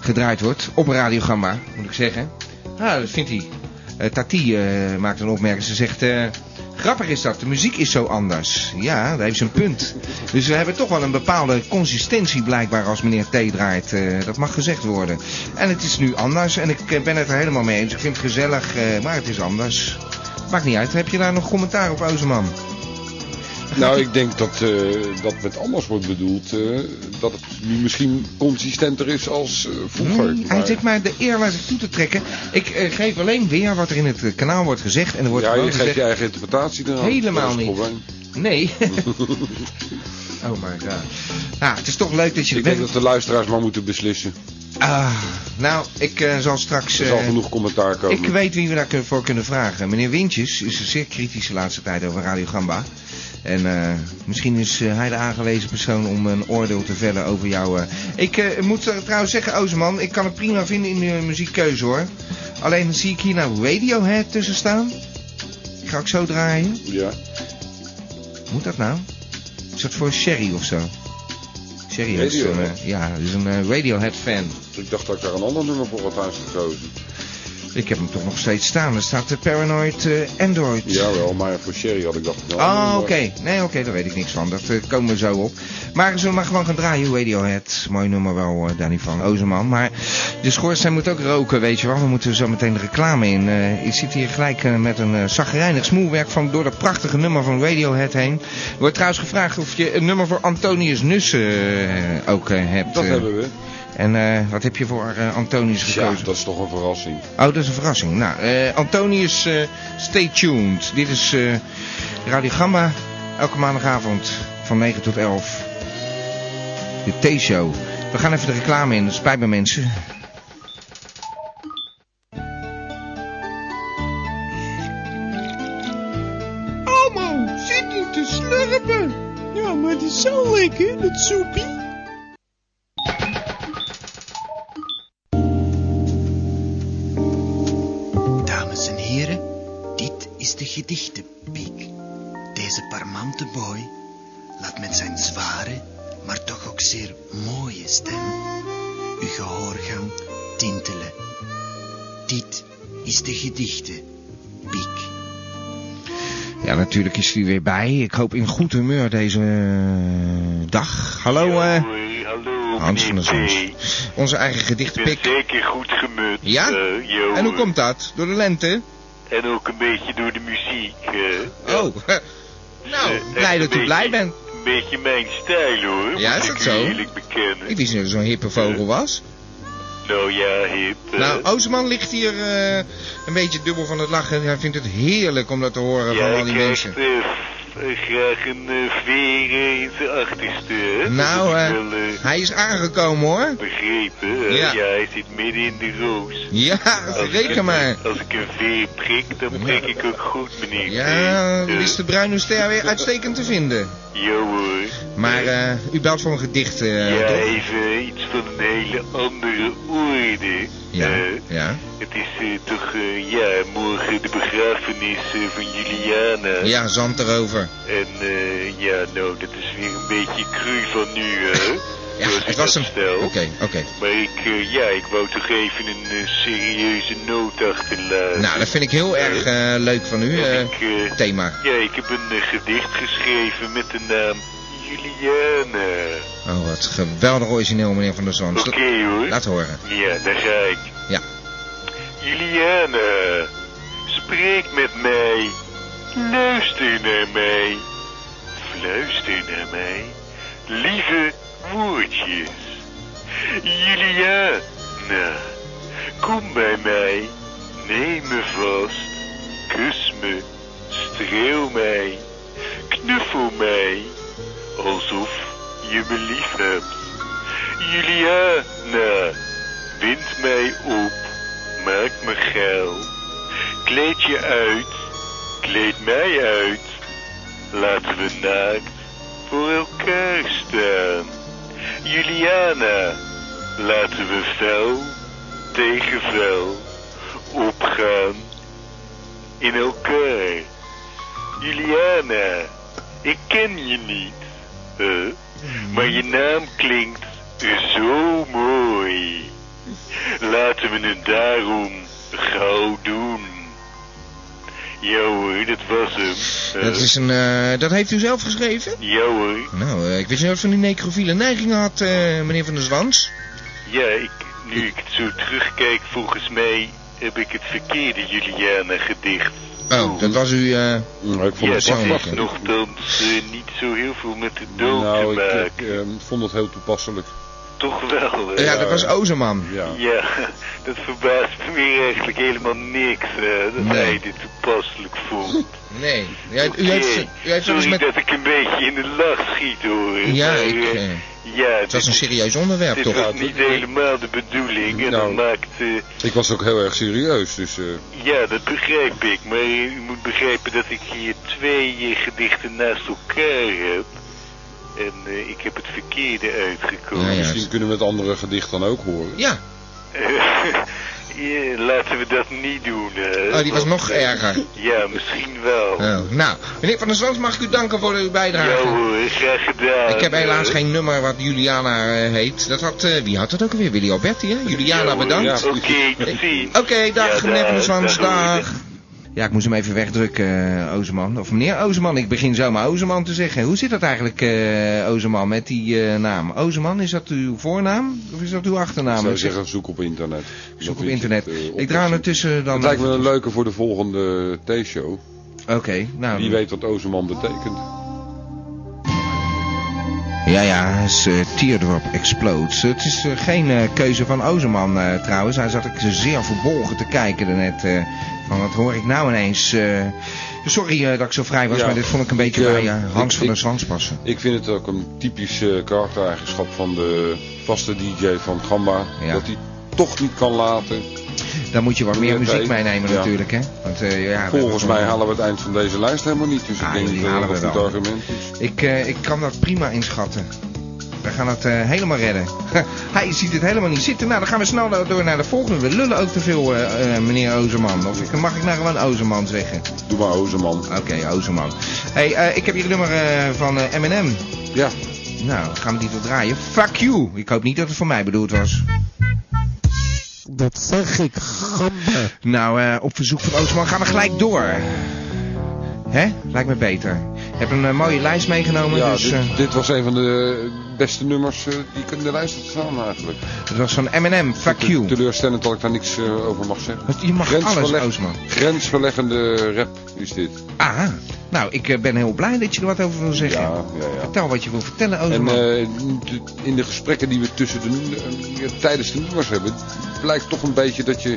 gedraaid wordt. Op Radio Gamba, moet ik zeggen. Ah, dat vindt hij. Eh, Tati eh, maakt een opmerking. Ze zegt... eh, Grappig is dat, de muziek is zo anders. Ja, daar heeft ze een punt. Dus we hebben toch wel een bepaalde consistentie blijkbaar als meneer T draait. eh, dat mag gezegd worden. En het is nu anders en ik eh, ben het er helemaal mee eens. Ik vind het gezellig, eh, maar het is anders. Maakt niet uit. Heb je daar nog commentaar op, Ozeman?
Nou, ik denk dat, eh, dat met anders wordt bedoeld eh, dat het nu misschien consistenter is als eh, vroeger.
Nee, hij
Maar-
zit mij de eer naar zich toe te trekken. Ik eh, geef alleen weer wat er in het eh, kanaal wordt gezegd. En er wordt
ja,
gewoon
je geeft
gezegd...
je eigen interpretatie eraan.
Helemaal
Dat is
niet.
het probleem.
Nee. oh my god. Nou, het is toch leuk dat je er
Ik denk
bent.
dat de luisteraars maar moeten beslissen.
Ah, nou, ik eh, zal straks...
Er zal
eh,
genoeg commentaar komen.
Ik weet wie we daarvoor kunnen vragen. Meneer Wintjes is zeer kritisch de laatste tijd over Radio Gamba. En eh, misschien is eh, hij de aangewezen persoon om een oordeel te vellen over jou. eh. Ik eh, moet eh, trouwens zeggen, Ozeman, ik kan het prima vinden in uw muziekkeuze hoor. Alleen zie ik hier nou Radiohead tussen staan. Die ga ik zo draaien.
Ja.
Moet dat nou? Is dat voor Sherry of zo? Sherry is zo'n,
Radiohead?
eh, ja, is een eh, Radiohead fan.
Ik dacht dat ik daar een ander nummer voor had uitgekozen.
Ik heb hem toch nog steeds staan. Er staat de Paranoid eh, Android.
Jawel, maar voor Sherry had ik dat gedaan.
Oh,
Maar-
oké. Nee, oké, daar weet ik niks van. Dat eh, komen we zo op. Maar zullen we maar gewoon gaan draaien, Radiohead. Mooi nummer wel, eh Danny van Ozeman. Maar de schoorsteen moet ook roken, weet je wel. We moeten zo meteen de reclame in. Eh ik zit hier gelijk eh, met een eh zagrijnig smoelwerk van door dat prachtige nummer van Radiohead heen. Er wordt trouwens gevraagd of je een nummer voor Antonius Nussen eh, ook eh, hebt.
Dat
eh.
hebben we.
En eh, wat heb je voor eh, Antonius
Ja,
gekozen?
dat is toch een verrassing.
Oh, dat is een verrassing. Nou, eh, Antonius, eh, stay tuned. Dit is eh Radio Gamma, elke maandagavond van 9 tot 11. De T-show. We gaan even de reclame in, dat spijt me mensen.
Almo, zit nu te slurpen. Ja, maar het is zo lekker, dat soepie.
Dames en heren, dit is de gedichtenpiek. Deze parmante boy laat met zijn zware, maar toch ook zeer mooie stem uw gehoorgang tintelen. Dit is de gedichtenpiek.
Ja, natuurlijk is hij weer bij. Ik hoop in goed humeur deze eh, dag. Hallo, eh
hallo,
Hans van der
meneer
Zons.
P.
Onze eigen
Ik ben
gedichtenpik.
zeker goed gemut.
Ja?
eh, yo.
En hoe komt dat? Door de lente?
En ook een beetje door de muziek. eh.
Oh, nou,
Eh, echt
blij dat u
een beetje-
blij bent.
Een beetje mijn stijl hoor.
Ja,
moet
is dat
ik u
zo?
eerlijk bekennen. Eh.
Ik wist niet dat u zo'n hippe vogel was.
Nou ja, hip. eh.
Nou, Oosterman ligt hier eh, een beetje dubbel van het lachen. Hij vindt het heerlijk om dat te horen
ja,
van al
ik
die
krijg
mensen.
eh, f- eh, graag een eh, veer eh, in zijn achterste. hè. Dat
Nou,
heb
eh,
ik wel eh,
hij is aangekomen hoor.
begrepen. hè.
ja.
ja, hij zit midden in de roos.
Ja, reken maar.
eh, Als ik een veer prik, dan prik ik ook goed, meneer.
Ja,
P. Eh,
is de bruine ster weer uitstekend te vinden.
Jo hoor.
Maar eh, u belt voor een gedicht, eh,
ja,
toch?
even iets van een hele andere orde.
Ja,
Eh,
ja,
het is eh, toch, eh, ja, morgen de begrafenis eh, van Juliana.
ja, zand erover.
En eh, ja, nou, dat is weer een beetje cru van nu, hè?
Ja,
Zoals ik
het was
dat
hem.
stel.
Oké, oké.
Maar ik, eh, ja, ik wou toch even een eh, serieuze noot achterlaten.
Nou, dat vind ik heel erg eh, leuk van u, eh,
ik, eh,
thema.
ja, ik heb een eh, gedicht geschreven met de naam Juliana.
Oh, wat geweldig origineel, meneer Van der Zons.
Oké
Dat-
hoor.
Laat horen.
Ja, daar ga ik.
Ja.
Juliane, spreek met mij. Luister naar mij. Fluister naar mij. Lieve woordjes. Juliana, kom bij mij. Neem me vast. Kus me. Streel mij. Knuffel mij. Alsof je me lief hebt. Juliana, wind mij op, maak me geil. Kleed je uit, kleed mij uit. Laten we naakt voor elkaar staan. Juliana, laten we vuil tegen vuil opgaan in elkaar. Juliana, ik ken je niet, hè? maar je naam klinkt zo mooi. Laten we het daarom gauw doen. Ja hoor, dat was hem. hè?
Dat, is een, eh, dat heeft u zelf geschreven?
Ja hoor.
Nou, eh, ik wist niet of u die necrofiele neigingen had, eh, meneer Van der Zwans.
Ja, ik, nu ik het zo terugkijk, volgens mij heb ik het verkeerde Juliana gedicht.
Oké, Oh, dat was u... eh
Mm, ik
Ja,
vond
dat
het
is
toepasselijk.
nogthans eh, niet zo heel veel met de dood
Nou,
te
ik,
maken.
ik eh, vond het heel toepasselijk.
Toch wel. hè?
Ja, dat was Ozerman.
Ja.
Ja, dat verbaast me eigenlijk helemaal niks, hè, dat
Nee.
hij dit toepasselijk vond.
Nee. U heeft, u heeft, u heeft wel eens
Sorry
met...
dat ik een beetje in de lach schiet, hoor.
Ja,
maar,
ik,
eh,
eh,
ja,
het was
dit-
een serieus onderwerp,
dit
toch? Nou,
was niet helemaal de bedoeling en
Nou.
dat maakt... eh,
Ik was ook heel erg serieus, dus... eh,
ja, dat begrijp ik, maar u moet begrijpen dat ik hier twee eh, gedichten naast elkaar heb. En eh, ik heb het verkeerde uitgekozen.
misschien kunnen we het andere gedicht dan ook horen.
Ja.
Ja, laten we dat niet doen. hè.
Oh, die was
Want,
nog
eh,
erger.
Ja, misschien wel.
Oh, nou, meneer Van der Zwans, mag ik u danken voor uw
Ja
bijdrage?
hoor, graag gedaan.
Ik heb helaas
hè.
geen nummer wat Juliana eh, heet. Dat had, eh, wie had dat ook weer? Willy Alberti, hè?
Ja,
Juliana,
hoor.
bedankt.
Ja, Oké, tot ziens.
Oké, dag,
Ja,
meneer Van der Zwans,
hoor.
dag. Ja, ik moest hem even wegdrukken, eh, Ozerman. Of meneer Ozerman, ik begin zomaar Ozerman te zeggen. Hoe zit dat eigenlijk, eh Ozerman, met die eh, naam? Ozerman, is dat uw voornaam of is dat uw
Ik
achternaam?
zou zeggen, zoek op internet.
Zoek op
vind je
internet.
het, eh,
ik draai
oplossing.
ondertussen dan...
Het lijkt me een leuke voor de volgende T-show.
Oké, nou...
Wie weet wat Ozerman betekent.
Ja, ja, hij is eh, Teardrop Explodes. Het is eh, geen eh, keuze van Ozerman eh, trouwens. Hij zat ik zeer verbolgen te kijken daarnet. eh, van wat hoor ik nou ineens? eh. sorry eh, dat ik zo vrij was,
Ja.
maar dit vond ik een beetje
Ik, eh,
bij eh, Hans
ik-
van der
ik-
Zwans passen.
Ik vind het ook een typisch eh, karaktereigenschap van de vaste DJ van Gamba.
Ja.
Dat hij toch niet kan laten.
Daar moet je wat meer
Oké.
muziek meenemen
Ja.
natuurlijk, hè? Want, eh, ja, we
Volgens
hebben
mij
gewoon-
halen we het eind van deze lijst helemaal niet. Dus
Ah,
ik denk
die
dat
halen
dat
we
een goed
wel.
argument is.
Ik, eh, ik kan dat prima inschatten. We gaan het eh, helemaal redden. Hij ziet het helemaal niet zitten. Nou, dan gaan we snel door naar de volgende. We lullen ook te veel, eh, eh, meneer Ozerman. Of ik- mag ik nou gewoon Ozerman zeggen?
Doe maar Ozerman.
Oké, Ozerman. hey, eh, ik heb hier het nummer eh, van eh, M&M.
Ja.
Nou, gaan we die toch draaien? Fuck you! Ik hoop niet dat het voor mij bedoeld was.
Dat zeg ik, gamba.
Nou, eh, op verzoek van Ozerman gaan we gelijk door. Hè? Lijkt me beter. Ik heb een eh, mooie lijst meegenomen,
Ja,
dus... eh,
dit, dit was een van de beste nummers eh, die ik in de lijst heb staan eigenlijk.
Het was van M&M, fuck you.
Teleurstellend dat ik daar niks eh, over mag zeggen.
Je mag alles,
Grensverleg-
Ozerman.
Grensverleggende rap is dit.
Ah, nou, ik eh, ben heel blij dat je er wat over wil zeggen.
Ja, ja, ja.
Vertel wat je wil vertellen,
En
Ozerman.
eh, de- in de gesprekken die we tussen de, eh, tijdens de nummers hebben, blijkt toch een beetje dat je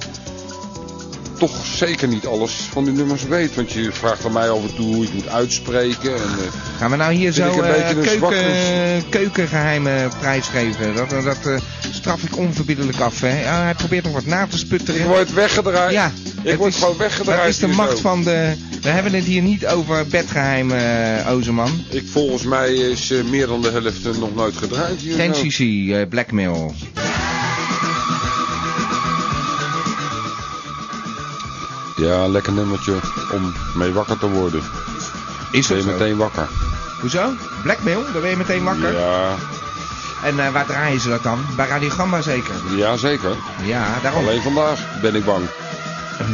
toch zeker niet alles van die nummers weet. Want je vraagt aan mij af en toe hoe je het moet uitspreken. En, eh,
Gaan we nou hier
vind
zo
ik een
eh,
beetje een
keuken,
zwakke-
keukengeheimen prijs geven? Dat, dat eh, straf ik onverbiddelijk af, hè? Ja, hij probeert nog wat na te sputteren.
ik word weggedraaid.
Ja,
ik
het
word
is-
gewoon weggedraaid.
Dat is de
hier
macht
zo.
van de... We hebben het hier niet over bedgeheim, eh Ozerman.
Ik, volgens mij is eh, meer dan de helft eh, nog nooit gedraaid hier.
Geen
zo.
CC, eh, blackmail.
Ja, lekker nummertje om mee wakker te worden.
Is
Ben
dat zo?
je meteen wakker.
Hoezo? Blackmail? Dan ben je meteen wakker.
Ja,
En eh, waar draaien ze dat dan? Bij Radio Gamba zeker?
ja, zeker.
Ja, daarom.
Alleen vandaag ben ik bang.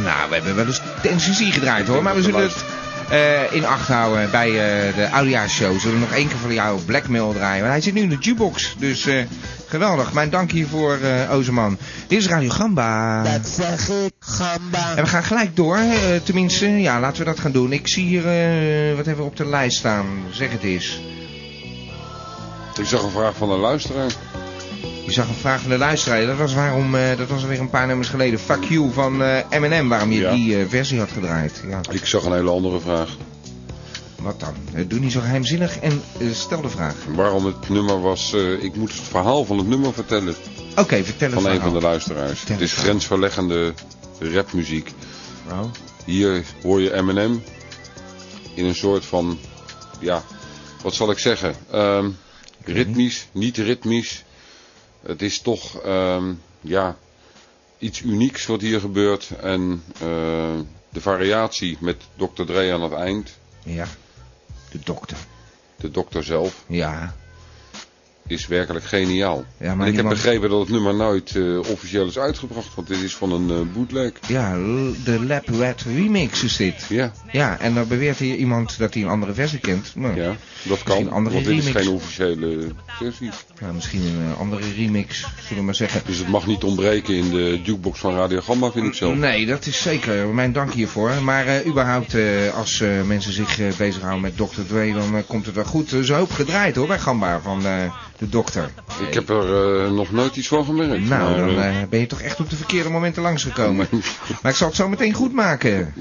Nou, we hebben wel eens tensie gedraaid hoor,
denk
maar we
dat
zullen
we
het eh, in acht houden bij eh, de Oudejaarsshow. Zullen we nog één keer voor jou Blackmail draaien, want hij zit nu in de jukebox. Dus eh, geweldig, mijn dank hiervoor eh Ozerman. Dit is Radio Gamba.
Dat zeg ik, gamba.
En we gaan gelijk door, hè, eh, tenminste, ja, laten we dat gaan doen. Ik zie hier, eh, wat hebben we op de lijst staan? Zeg het eens.
Ik zag een vraag van een luisteraar.
Je zag een vraag van de luisteraar, dat was waarom, eh, dat was alweer een paar nummers geleden. Fuck you van eh, M&M, waarom je
Ja.
die eh, versie had gedraaid. Ja.
Ik zag een hele andere vraag.
Wat dan? Eh, Doe niet zo geheimzinnig en eh, stel de vraag.
Waarom het nummer was... eh, ik moet het verhaal van het nummer vertellen
Oké, vertel het
van een
verhaal.
van de luisteraars.
Vertel
Het
het
is
verhaal.
grensverleggende rapmuziek.
Oh.
Hier hoor je M&M in een soort van... Ja, wat zal ik zeggen? Ehm, ritmisch, niet ritmisch. Het is toch... ehm, ja, iets unieks wat hier gebeurt. En eh, de variatie met Dr. Dre aan het eind.
Ja, de dokter.
De dokter zelf.
Ja,
is werkelijk geniaal.
Ja, maar
en ik heb
niemand-
begrepen dat het nummer nooit eh, officieel is uitgebracht, want dit is van een eh, bootleg.
ja l- de Lab Rat remix is dit.
Ja,
Ja, en dan beweert hier iemand dat hij een andere versie kent. Nou,
ja, dat
misschien
kan,
een andere
want dit is
remix.
geen officiële eh, versie.
Nou, misschien een eh, andere remix, zullen we maar zeggen.
Dus het mag niet ontbreken in de jukebox van Radio Gamma, vind ik zelf.
Nee, dat is zeker. Mijn dank hiervoor. Maar eh, überhaupt, eh, als eh, mensen zich eh, bezighouden met Dr. Dre, dan eh, komt het wel goed. Er is een hoop gedraaid hoor, bij Gamba, van eh, de dokter.
Ik heb er eh, nog nooit iets van gemerkt.
Nou,
maar,
dan
eh,
eh, ben je toch echt op de verkeerde momenten langsgekomen. maar ik zal het zo meteen goed maken.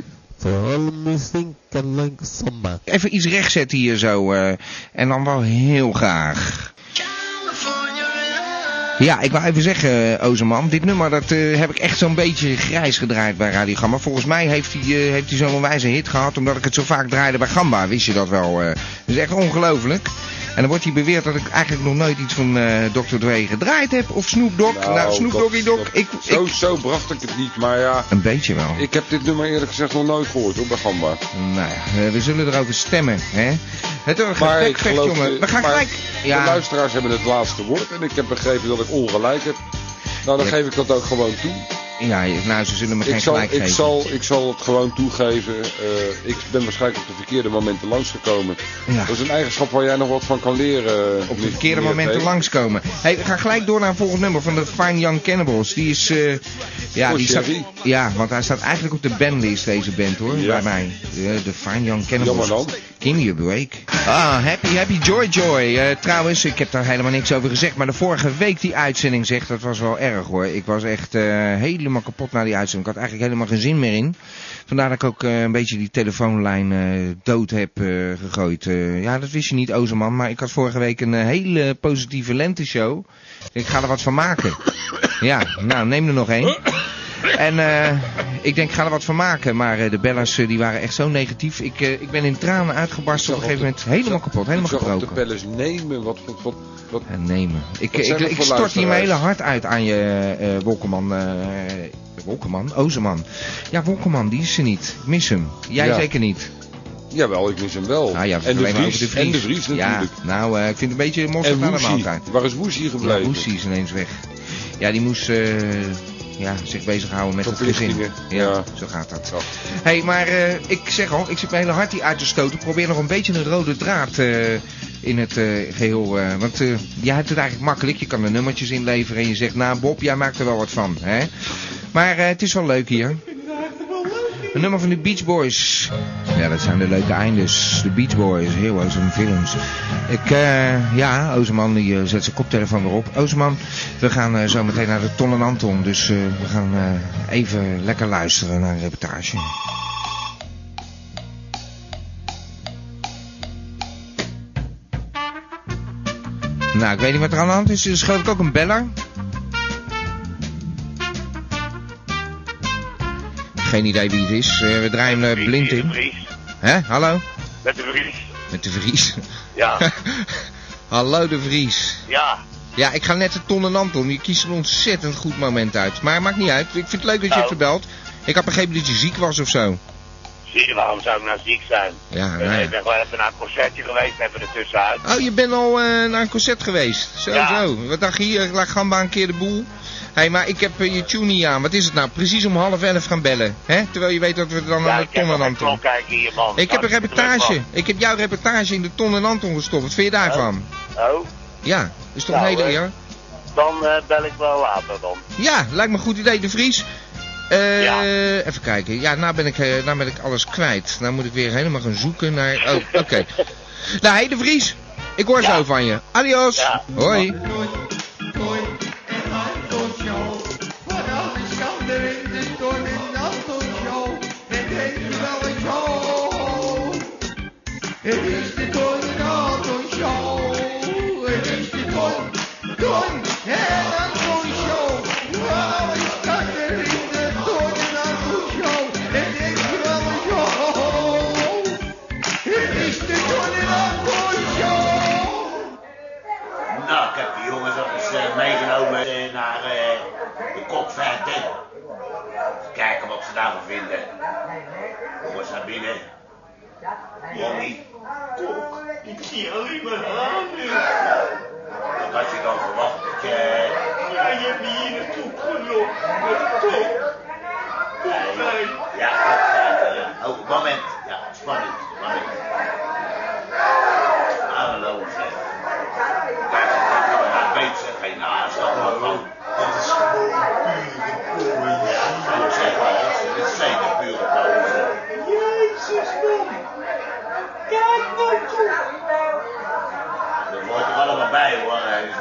All me think I like samba.
Even iets rechtzetten hier zo. eh, en dan wel heel graag. Ja, ik wou even zeggen, eh, Ozerman, dit nummer dat eh, heb ik echt zo'n beetje grijs gedraaid bij Radio Gamba. Volgens mij heeft hij, eh, heeft hij zo'n onwijze hit gehad omdat ik het zo vaak draaide bij Gamba. Wist je dat wel? eh? dat is echt ongelooflijk. En dan wordt hij beweerd dat ik eigenlijk nog nooit iets van eh Dr. Dre gedraaid heb. Of Snoop Dogg. Nou, Snoop
dat-
Doggy Dogg.
dat-
Ik,
zo,
ik,
zo bracht ik het niet, maar ja,
een beetje wel.
ik heb dit nummer eerlijk gezegd nog nooit gehoord hoor, bij Gamba.
Nou ja, eh, we zullen erover stemmen, hè? Het wordt een
Maar ik
gesprek,
geloof,
jongen.
eh,
We gaan
maar
gelijk...
De
Ja,
luisteraars hebben het laatste woord en ik heb begrepen dat ik ongelijk heb. Nou, dan
Ja.
geef ik dat ook gewoon toe.
ja, nou, ze zullen me geen
Ik zal,
gelijk
ik,
geven.
zal, ik zal het gewoon toegeven. Eh, ik ben waarschijnlijk op de verkeerde momenten langsgekomen.
Ja.
Dat is een eigenschap waar jij nog wat van kan leren. eh,
op de verkeerde momenten langskomen. Hey, we gaan gelijk door naar een volgend nummer van de Fine Young Cannibals. Die is... eh, ja,
Voor
die staat,
Sherry.
ja, want hij staat eigenlijk op de bandlist, deze band, hoor.
Ja.
Bij mij. Eh, De Fine Young Cannibals.
Jammer dan.
Give me a break. Ah, happy, happy, joy, joy. Eh, trouwens, ik heb daar helemaal niks over gezegd. Maar de vorige week die uitzending zegt, dat was wel erg hoor. Ik was echt eh, helemaal kapot na die uitzending. Ik had eigenlijk helemaal geen zin meer in. Vandaar dat ik ook eh, een beetje die telefoonlijn eh, dood heb eh, gegooid. Eh, ja, dat wist je niet, Ozerman. Maar ik had vorige week een eh, hele positieve lenteshow. Ik ga er wat van maken. Ja, nou, neem er nog één. En eh, ik denk, ik ga er wat van maken. Maar eh, de bellers eh, die waren echt zo negatief. Ik, eh, ik ben in tranen uitgebarsten. Op een gegeven moment helemaal kapot, helemaal
ik zag op de
gebroken.
pellets nemen. Wat, wat, wat, wat-
En nemen. Ik,
Wat
ik,
zijn
ik,
dat voor
stort hier mijn hele
luisteraars?
hart uit aan je eh Wolkeman. eh, Wolkeman? Ozeman. Ja, Wolkeman, die is er niet. Ik mis hem. Jij
Ja.
zeker niet.
Jawel, ik mis hem wel.
Nou ja, we
en, de
alleen maar over
Vries,
de Vries.
en de Vries natuurlijk.
Ja, nou, eh, ik vind het een beetje een monster
en
naar de
Woesie.
maaltijd.
Waar is Woesie
Ja,
gebleven?
Woesie is ineens weg. Ja, die moest eh, ja, zich bezighouden met het gezin.
Verplichtingen.
Ja,
Ja.
zo gaat dat.
Ja.
Hé, hey, maar eh, ik zeg al, ik zit mijn hele hart hier uit te stoten. Probeer nog een beetje een rode draad eh, in het eh, geheel. eh, want eh, jij hebt het eigenlijk makkelijk. Je kan er nummertjes inleveren en je zegt, nou Bob, jij maakt er wel wat van. Hè? Maar eh, het is wel leuk hier. Een nummer van de Beach Boys. Ja, dat zijn de leuke eindes. De Beach Boys, Heroes en Films. Ik, eh, ja, Ozeman die, eh, zet zijn koptelefoon weer op. Ozeman, we gaan eh, zo meteen naar de Ton en Anton. Dus eh, we gaan eh, even lekker luisteren naar een reportage. Nou, ik weet niet wat er aan de hand is. Er is geloof ik ook een beller. Geen idee wie het is. Eh, we draaien hem eh, blind in. Hè? Hallo?
Met de Vries.
Met de Vries.
Ja,
Hallo de Vries.
ja.
Ja, ik ga net de Ton en Anton. Je kiest een ontzettend goed moment uit. Maar maakt niet uit. Ik vind het leuk dat je
Nou.
hebt gebeld. Ik had begrepen dat je ziek was of zo.
Zie, waarom zou ik nou ziek zijn?
Ja,
Eh,
nou
Ik
ja.
ben gewoon even naar een concertje geweest, even ertussenuit.
Oh, je bent al eh, naar een concert geweest. Zo,
Ja.
zo. Wat dacht je hier? Laat Gamba een keer de boel. Hé, hey, maar ik heb eh, je tune niet aan. Wat is het nou? Precies om half elf gaan bellen. hè? Terwijl je weet dat we dan
Ja,
aan
ik
de
heb
Ton en
nog geen
Anton...
klok kijken hier, man. Nou,
Ik heb een
Hartstikke druk,
reportage.
man.
Ik heb jouw reportage in de Ton en Anton gestopt. Wat vind je daarvan?
Oh,
Ja, is toch een
Nou,
hele
eh,
eer?
dan eh, bel ik wel later dan.
Ja, lijkt me een goed idee, De Vries. Eh,
Ja.
Even kijken. Ja, nou ben, ik, eh, nou ben ik alles kwijt. Nou moet ik weer helemaal gaan zoeken naar... Oh, oké. nou, hey De Vries. Ik hoor
Ja.
zo van je. Adios.
Ja.
Hoi.
Nou, ik heb de jongens eens eh, meegenomen eh, naar eh, de kokvijfde. Kijken wat ze daarvan vinden. Jongens naar binnen. Jonnie, kok. Ik zie alleen maar handen. Wat had je dan verwacht dat je... Ja, je hebt me hier naartoe gelokt met kok. Ja, kokvijfde. Ja, kokvijfde. Oh, eh, moment. Ja. nou,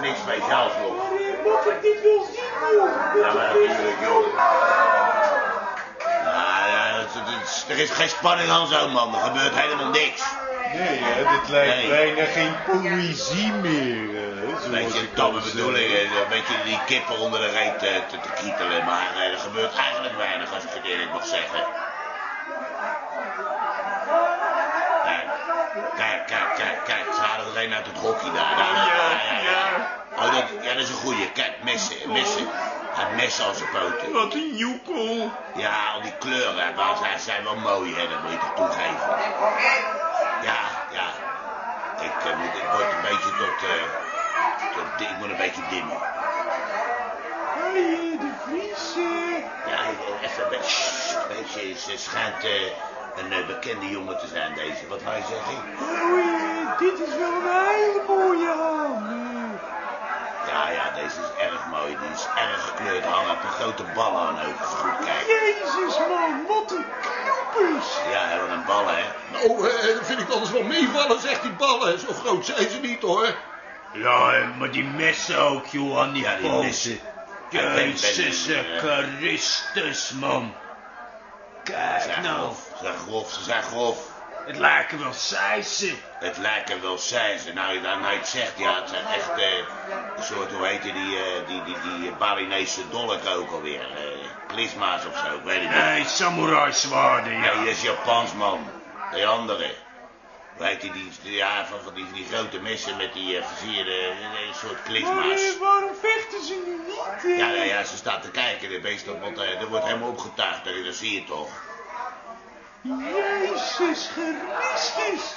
niks speciaals nog.
Moppert, dit wil zien, joh.
Ja, maar natuurlijk, joh. Ah, ja, dat- dat- dat- er is geen spanning aan zo'n man. Er gebeurt helemaal niks.
Nee, hè, dit lijkt
Nee.
bijna geen poëzie meer. hè, zoals
Een beetje
ik
domme
al zei.
bedoeling, hè, een beetje die kippen onder de reet eh, te, te kietelen. Maar eh, er gebeurt eigenlijk weinig, als ik het eerlijk mag zeggen. Kijk, kijk, kijk, kijk, kijk. Ze halen er een uit het hokje daar. Ja, ja, ja. Oh, dat, ja, dat is een goeie. Kijk, messen, messen. Hij heeft messen aan zijn poten. Wat een joekel. Ja, al die kleuren, hè, maar zij zijn wel mooi, hè. Dat moet je toch toegeven. Ja, ja. Ik, eh, moet, ik word een beetje tot... eh, dat ding moet een beetje dimmen.
Hé, de Vries. eh,
Ja, even een beetje. Sst, een beetje, ze schijnt eh, een eh, bekende jongen te zijn, deze. Wat wij zeggen?
Oei, eh, dit is wel een hele mooie ham. eh.
Ja, ja, deze is erg mooi. Die is erg gekleurd. Hangt met een grote bal aan ook. Als je goed kijkt.
Jezus, man, wat een knoepers.
Ja, hè, wat een bal, hè?
Nou, eh, dat vind ik alles wel meevallen, zegt die ballen. Zo groot zijn ze niet, hoor.
Ja, maar die messen ook, Johan, die
Ja, die
poten.
messen. Ja, ben- eh.
Jezus eh,
ben- ben-
Christus, man.
Ze
Kijk
zijn
nou,
grof. Ze zijn grof, ze zijn grof.
het lijken wel sijsen.
Het lijken wel zijzen. Nou, je- nou, je het zegt, ja, het zijn echt eh, een soort, hoe heet die, die, eh, die, die, die Balinese dolk ook alweer. eh plisma's of zo, ik weet het niet.
Nee, samurai zwaarden, ja.
Nee, die is Japans, man. Die andere. Hoe heet die, die, die- ja, van, van die, van die grote messen met die eh, versierde, eh, een soort
Maar
klisma's.
eh, waarom vechten ze nu niet? eh?
Ja, ja, ja, ze staat te kijken, de beest, op, want eh, er wordt helemaal opgetuigd, hè, dat zie je toch.
Jezus Christus.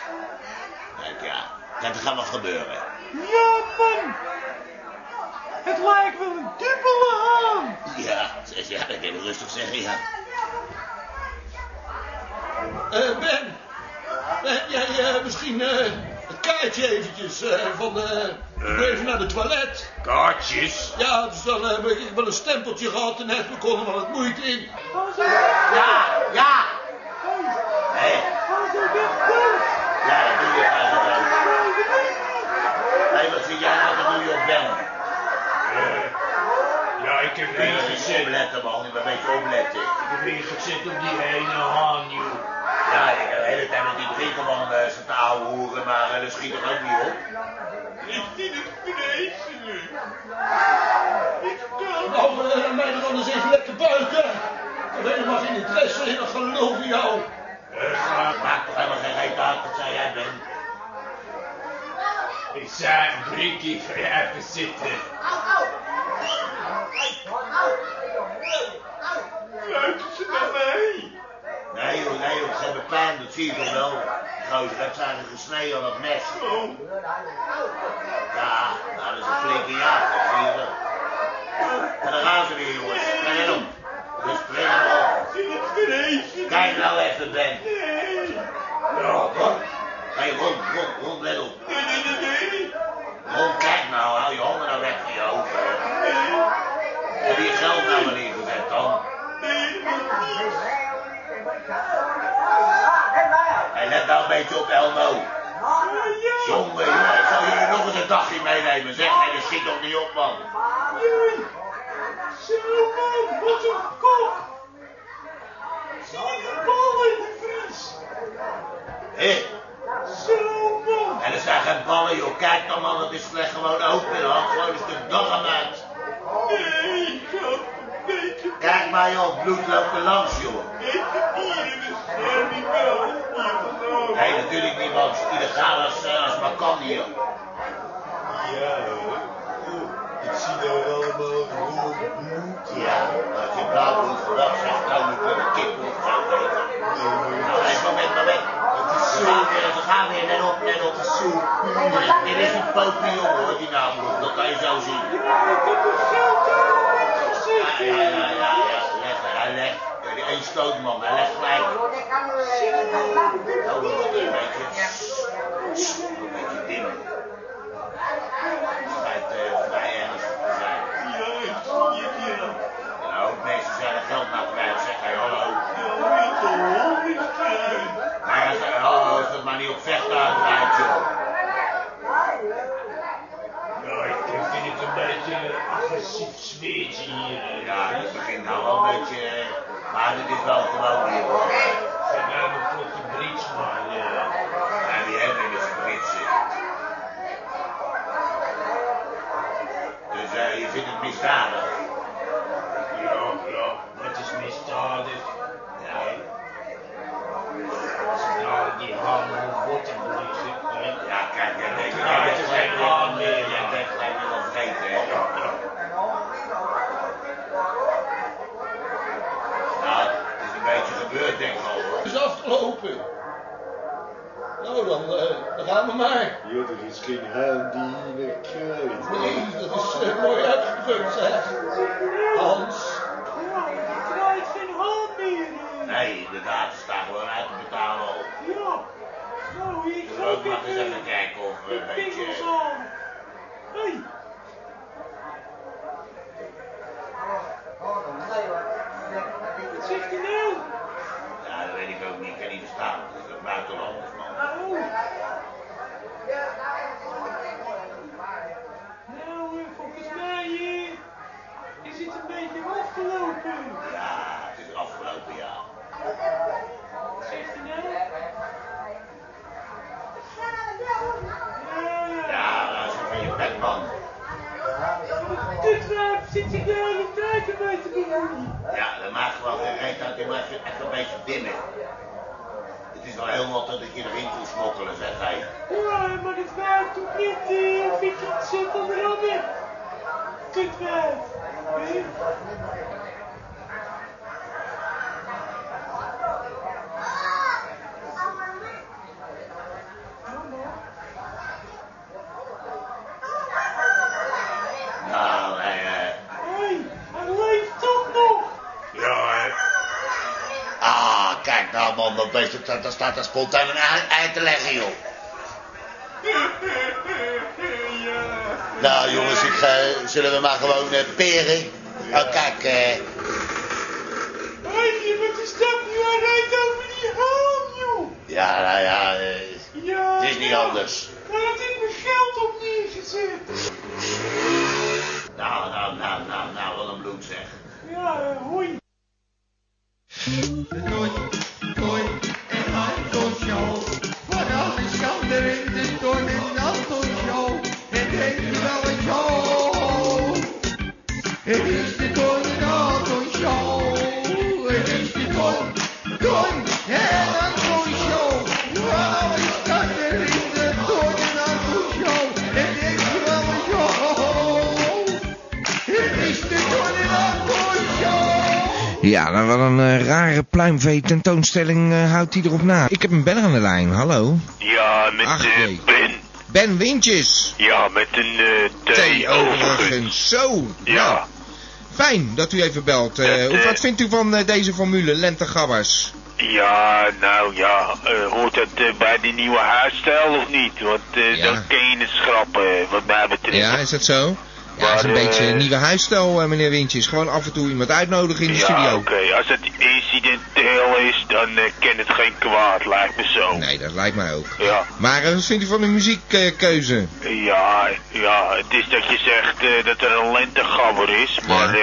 Kijk, ja, kijk, er gaat wat gebeuren.
Ja, man. Het lijkt wel een dubbele ham.
Ja, ze- ja, dat kan je rustig zeggen, ja.
Eh, ben, ben jij eh, misschien eh, het kaartje eventjes eh, van... eh, ik moet even naar de toilet.
Kaartjes?
Ja, dus dan heb ik wel een stempeltje gehad en heb ik er wel wat moeite in.
Ja, ja. Hé. Ja, dat doe je eigenlijk ook. Hé, wat vind jij nou te doen, joh, Ben?
Eh, Ja, ik heb
Nee,
niet
dat is
gezet.
opletten, man. Je moet een beetje opletten.
Ik heb niet gezet op die ene haan, joh.
Ja, ik heb de hele tijd met die drie gewoon eh zitten ouwe hoeren, maar eh, dat schiet er ook niet op.
Ligt in het vrezen nu.
Nou, eh, mij dan eens even lekker buiten. Ik heb helemaal geen interesse in, dat geloof ik
nou?
jou.
Eh, Maakt toch helemaal geen reet uit, dat zei jij, Ben.
Ik zei, Brikkie, ga jij even zitten.
Fluiten ze naar mij?
Nee, joh, nee, joh, ze hebben pijn, dat zie je toch wel. Gozer, dat zijn ze gesneden aan dat mes. Ja,
Tá.
nou, dat is een flinke jacht, dat zie je wel. En dan gaan ze weer, jongens. Spring om. Dus spring op. Kijk nou even, Ben. Ja, Ron. Hé, Ron, Ron, Ron, let op. Ron, kijk nou, hou je handen nou weg van je hoofd. hè. Heb je geld nou maar ingezet dan? Hé, let nou een beetje op, Elmo. Jongen, jongen, ik zal jullie nog eens een dagje meenemen. Zeg, nee, dat schiet nog niet op, man.
Zo, man, wat een kop. Zie je de ballen, Vries?
Hé,
Zo, man.
en er zijn geen ballen, joh. Kijk nou, man, het is slecht gewoon open. Dan had gewoon een stuk doggen uit.
Nee, ik had een beetje
Kijk maar, joh, bloed loopt er langs, joh.
dierenbescherming wel.
Hé, nee, natuurlijk niet, man. Illegaal als, eh, als maar kan hier.
Ja, hoor. Oeh, ik zie daar allemaal rood bloed.
Ja, als je blauw bloed vooraf zegt, dan moet er nou, een kip of zo weten. Nou, hé, moment, moment. Ze gaan weer, ze gaan weer, net op, net op. Dit is een papillon, hoor, die naambloed. Dat kan je zo zien. Ja, ja, ja, ja, ja. Leg, hij legt. Eén stoot, man. Hij legt gelijk.
tá
Oh, dat wordt een beetje... Een beetje dim. Het schijnt eh, vrij ernstig te zijn. En ook Nou, mensen zijn er geld naar kwijt. Zeg, hé, hallo. Nou ja, zeg, hallo, is dat maar niet op vechten uitrijdt, joh.
Ja, ik durfde niet
nou eh, maar dit is wel gewoon hier. hoor.
Ze hebben een vlotte Brits, maar... eh,
En die hebben dus een Britse. Dus eh, je vindt het misdadig.
Ja, ja, het is misdadig. Nee. Als ik nou die handen op botten verliezen, hè.
Ja, kijk, jij denkt
Ja,
jij
het
denkt
is
gelijk
geen
weer aan,
aan,
eh,
eh,
jij denkt gelijk weer aan vreten, hè? Nou, het is een beetje gebeurd, denk ik al, hoor.
Het is afgelopen. Nou dan, eh, dan gaan we maar.
Joh, er is geen haan die je krijgt.
Nee, dat is eh, mooi uitgedrukt, zeg. Hans.
krijgt geen hand meer.
Nee, inderdaad, ze staan gewoon uit te betalen al.
Ja. Nou, hier
Dus
gaat
ook mag
eh,
eens
het.
even kijken of we een beetje...
Pingels aan. Hey. Wat zegt hij nou?
Ja, dat weet ik ook niet. Ik kan niet verstaan. Het is een buitenlanders, man.
Nou. Nou, eh, volgens mij eh, is het een beetje afgelopen.
Ja, ah, het is afgelopen jaar.
Wat zegt hij nou? Ja.
Ja, dat is van je bek, man.
Dit wijf zit zich de hele tijd ermee te bemoeien.
Ja, dat maakt gewoon geen reet uit. Je maakt je echt een beetje dimmen. Het is wel heel wat dat ik je erin kon smokkelen, zeg hij.
Ja, maar dit wijf doet niet eh, of ik het zit onder Robin. Dit wijf. hè?
Nou, hij... eh,
Hey, hij leeft toch nog.
Ja, hè. Ah, kijk nou, man. Dat beest dat- dat staat daar spontaan een ei- ei te leggen, joh. Nou jongens, ik ga, zullen we maar gewoon eh, peren? Oh kijk, eh,
Hey, wat is dat nu? Hij rijdt over die haan, joh.
ja, nou ja, eh,
Ja.
het is niet anders.
Daar had ik mijn geld op neergezet.
Nou, nou, nou, nou, nou, wat een bloed zeg.
Ja, eh, hoi.
Ja, nou, wat een eh, rare pluimvee tentoonstelling eh, houdt hij erop na. Ik heb een beller aan de lijn, hallo.
Ja, met
Ach,
eh,
nee.
Ben.
Ben Windjes.
Ja, met een eh T overigens.
overigens. Zo.
Ja,
Fijn dat u even belt. eh.
Dat, eh,
wat vindt u van eh, deze formule, lentegabbers?
ja, nou ja, eh, hoort dat eh, bij die nieuwe huisstijl of niet? Want eh,
Ja.
dan kun je het schrappen, wat mij betreft.
Ja, is dat zo? Ja, dat is een
Maar, eh,
beetje een nieuwe huisstijl, eh, meneer Windjes. Gewoon af en toe iemand uitnodigen in de
Ja,
studio.
oké, als het incidenteel is, dan eh, kan het geen kwaad, lijkt me zo.
Nee, dat lijkt mij ook.
Ja.
Maar eh, wat vindt u van de muziekkeuze?
Ja, ja, het is dat je zegt eh, dat er een lentegabber is, maar eh,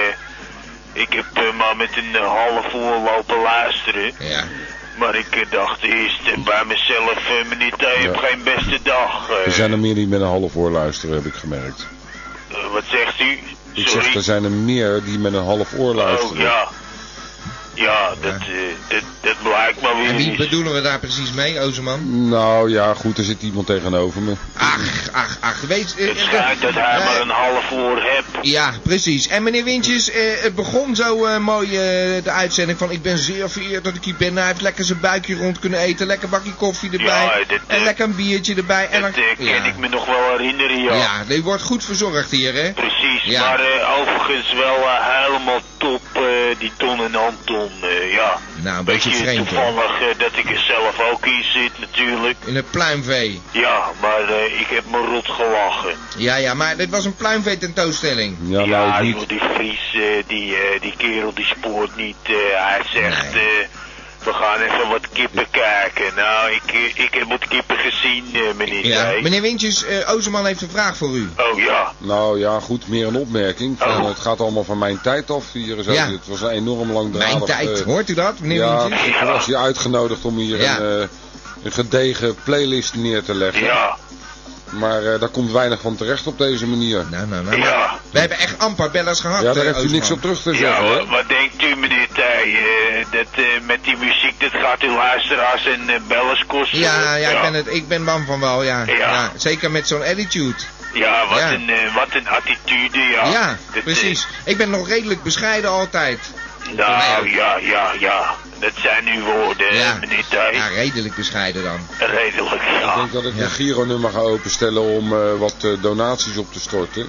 ik heb eh, maar met een eh, half uur lopen luisteren. Maar ik eh, dacht eerst eh, bij mezelf, eh, meneer T, je hebt geen beste dag. eh.
Er zijn er meer die met een half oor luisteren, heb ik gemerkt.
Eh, wat zegt u?
Ik zeg, er zijn er meer die met een half oor
Oh
luisteren.
ja. Ja, dat, eh, dat, dat blijkt maar weer
En wie
niet.
bedoelen we daar precies mee, Ozeman?
Nou ja, goed, er zit iemand tegenover me.
Ach, ach, ach. Weet, eh,
Het schijnt dat hij
eh,
maar een half uur hebt.
Ja, precies. En meneer Windjes, eh, het begon zo eh, mooi eh, de uitzending van ik ben zeer vereerd dat ik hier ben. Nou, Hij heeft lekker zijn buikje rond kunnen eten, lekker bakje koffie erbij
Ja, dit,
en
eh,
lekker een biertje erbij. en
Dat
dan,
eh, kan ik me nog wel herinneren, ja.
ja, die wordt goed verzorgd hier, hè?
Precies,
Ja.
maar eh, overigens wel eh, helemaal top, eh, die Ton en Anton, eh, ja.
Nou, een beetje vreemd, hoor.
toevallig eh, dat ik er zelf ook in zit natuurlijk.
In het pluimvee.
Ja, maar eh, ik heb me rot gelachen.
Ja, ja, maar dit was een pluimvee tentoonstelling.
Ja, nou,
Ja, joh, die Fries, eh, die, eh, die kerel die spoort niet. eh, hij zegt, eh, We gaan even wat kippen kijken. Nou, ik, eh, ik heb wat kippen gezien, eh, meneer
Ja.
Dijk.
Meneer Wintjes, eh Ozerman heeft een vraag voor u.
Oh ja.
Nou ja, goed, meer een opmerking. Van, Het gaat allemaal van mijn tijd af hier. en Zo.
Oh. Ja.
Het was een enorm langdradig...
Mijn tijd,
eh,
hoort u dat, meneer
ja,
Wintjes?
ik was hier uitgenodigd om hier
Ja.
een, eh, een gedegen playlist neer te leggen.
Ja.
Maar eh, daar komt weinig van terecht op deze manier.
Nou, nou,
nou.
Ja.
We hebben echt amper bellers gehad.
Ja, daar
eh,
heeft u
Ozerman.
niks op terug te
Ja,
zeggen,
wa-
hoor.
wat, denkt u, meneer Tij? eh, dat eh, met die muziek, dat gaat uw luisteraars en eh, bellers kosten.
Ja, ja, ik ben, het, ik ben bang van wel, ja. ja. zeker met zo'n attitude.
Ja, wat,
Ja.
Een, eh, wat een attitude, ja.
Ja,
Dat, eh,
precies. Ik ben nog redelijk bescheiden altijd.
nou, ja, ja, ja. Dat zijn uw woorden,
Ja.
meneer Tij.
Ja, redelijk bescheiden dan.
Redelijk,
Ik
ja.
denk dat ik een Giro-nummer ga openstellen om eh, wat eh, donaties op te storten.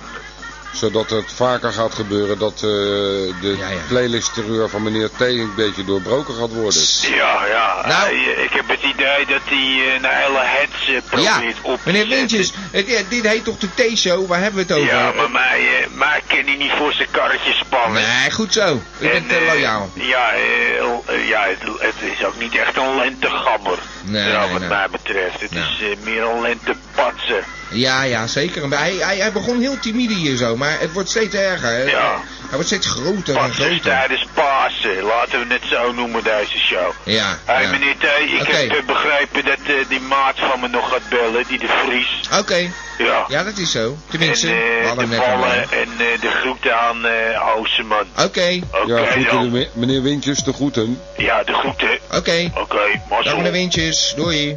Zodat het vaker gaat gebeuren dat eh, de playlist-terreur van meneer T een beetje doorbroken gaat worden.
Ja, ja.
Nou.
Eh, ik heb het idee dat hij eh, een hele hets eh, probeert op te
Meneer
zetten.
Wintjes, het- eh, dit heet toch de T-show? Waar hebben we het over?
Ja, maar mij, eh mij kan hij niet voor zijn karretje spannen.
Nee, goed zo. U bent
En,
te
eh,
loyaal.
Ja, eh, l- eh, ja het, het is ook niet echt een lentegabber.
Nee,
ja,
nee,
wat
nee.
mij betreft. Het
Nee.
is eh, meer een lentepatser.
Ja, ja, zeker. Maar Hij, hij, hij begon heel timide hier zo, maar het wordt steeds erger.
Ja.
Hij wordt steeds groter en
Patsers
groter.
tijdens Pasen. Laten we het zo noemen, deze show.
Ja,
Hé, hey,
ja.
meneer T, ik
Oké.
heb eh, begrepen dat eh, die maat van me nog gaat bellen, die de Vries.
Oké.
Ja.
Ja, dat is zo. Tenminste,
en, eh,
we hadden
de
net al.
ballen en eh, de groeten aan eh Oosterman.
Oké.
ja,
Oké,
groeten,
dan.
de me- meneer Wintjes, de groeten.
Ja, de groeten.
Oké.
Oké, mazzel.
Dag meneer Wintjes. Doei.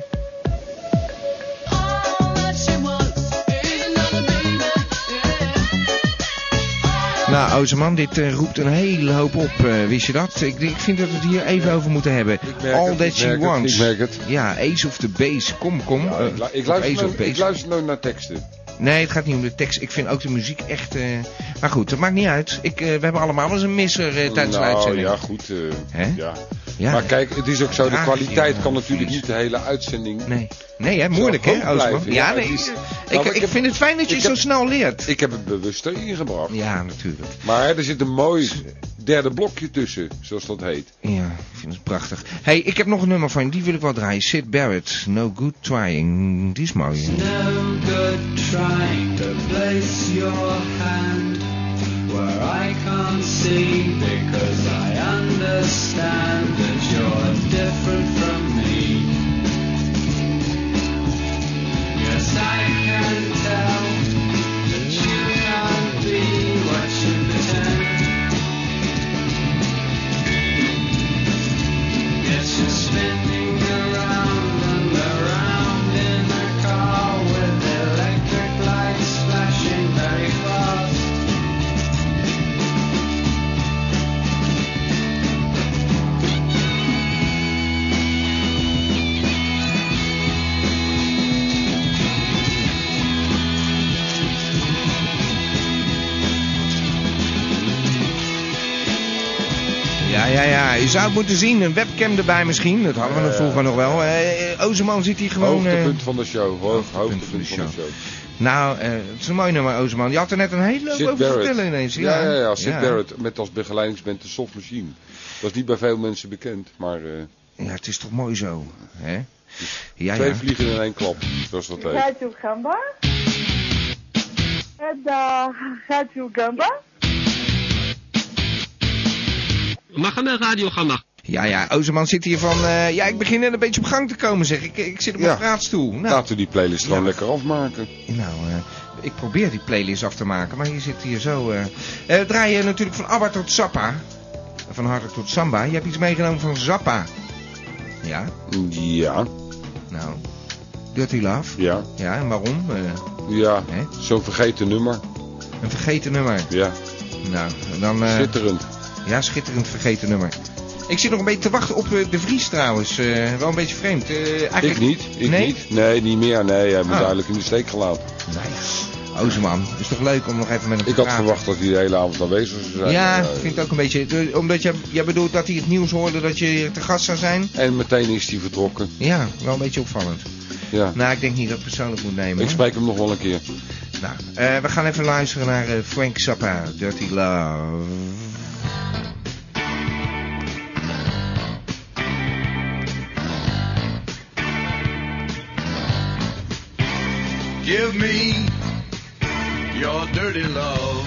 Nou, Ozerman, dit eh, roept een hele hoop op. eh, wist je dat? Ik, ik vind dat we het hier even over moeten hebben.
merk
All
het,
that
ik
she
merk het,
wants.
ik merk het.
Ja, Ace of the Base. Kom, kom.
Ja, ik, lu-
eh,
ik luister
Ace of
nooit, ik
Base.
luister nooit naar teksten.
Nee, het gaat niet om de tekst. Ik vind ook de muziek echt... eh, Maar goed, dat maakt niet uit. Ik, eh, we hebben allemaal eens een misser eh, tijdens de
nou,
uitzending.
ja, goed. eh, ja.
Ja,
maar
hè?
kijk, het is ook zo, de
Tragisch,
kwaliteit
ja,
kan natuurlijk niet de hele uitzending...
Nee, nee hè, moeilijk hè, Oostman? Ja, nee,
Nou,
ik, ik vind het fijn dat je zo snel leert.
Ik heb het bewust erin gebracht.
Ja, natuurlijk.
Maar er zit een mooi derde blokje tussen, zoals dat heet.
Ja, ik vind het prachtig. hey, ik heb nog een nummer van je, die wil ik wel draaien. Sid Barrett, No Good Trying. Die is mooi.
No good trying to place your hand where I can't see because I understand that you're different from me. Yes, I can tell that you can't be what you pretend. Yes, you're spinning around and around in a car with electric lights flashing very fast.
Ja, ja, ja. Je zou het moeten zien. Een webcam erbij misschien. Dat hadden we nog
Ja.
vroeger nog wel. Eh Ozeman zit hier gewoon... eh,
Hoogtepunt van de show. Ho hoogtepunt van de show.
nou, eh, het is een mooi nummer, Ozeman. Je had er net een hele hoop over
Sid
te
Barrett.
vertellen ineens.
ja, ja, ja, Sid Barrett met als begeleidingsband de Soft Machine. Dat is niet bij veel mensen bekend, maar eh,
Ja, het is toch mooi zo, hè? Ja,
twee
ja.
vliegen in één klap, zoals dat heet.
Gaat u gamba? En uh, gaat u gamba?
Mag aan de radio gaan, Ja, ja, Ozeman zit hier van... eh, ja, ik begin net een beetje op gang te komen, zeg. Ik, ik zit op mijn
Ja.
praatstoel. Nou,
Laten we die playlist gewoon lekker afmaken.
nou eh, ik probeer die playlist af te maken, maar je zit hier zo... eh Eh, draai je natuurlijk van ABBA tot Zappa. Van harder tot Samba. Je hebt iets meegenomen van Zappa. Ja?
Ja.
Nou, Dirty Love.
Ja.
Ja, en waarom? Eh,
Ja, zo'n vergeten nummer.
een vergeten nummer.
Ja.
Nou, dan... eh,
Schitterend.
Ja, schitterend vergeten nummer. Ik zit nog een beetje te wachten op eh, De Vries trouwens. Eh, wel een beetje vreemd. Eh, eigenlijk...
Ik niet, ik
nee?
niet. Nee, niet meer. Nee, hij moet
Ah.
duidelijk in de steek gelaten.
Nee. Oh, Ozeman, is toch leuk om nog even met hem
Ik
te
had
praten.
verwacht dat hij de hele avond aanwezig zou zijn.
Ja,
Eh,
ik vind het ook een beetje... eh, Omdat jij, jij bedoelt dat hij het nieuws hoorde dat je hier te gast zou zijn.
En meteen is hij vertrokken.
Ja, wel een beetje opvallend.
Ja.
Nou, ik denk niet dat ik het persoonlijk moet nemen.
Ik
hoor.
spreek hem nog wel een keer.
Nou, eh, we gaan even luisteren naar eh, Frank Zappa, Dirty Love.
Give me your dirty love.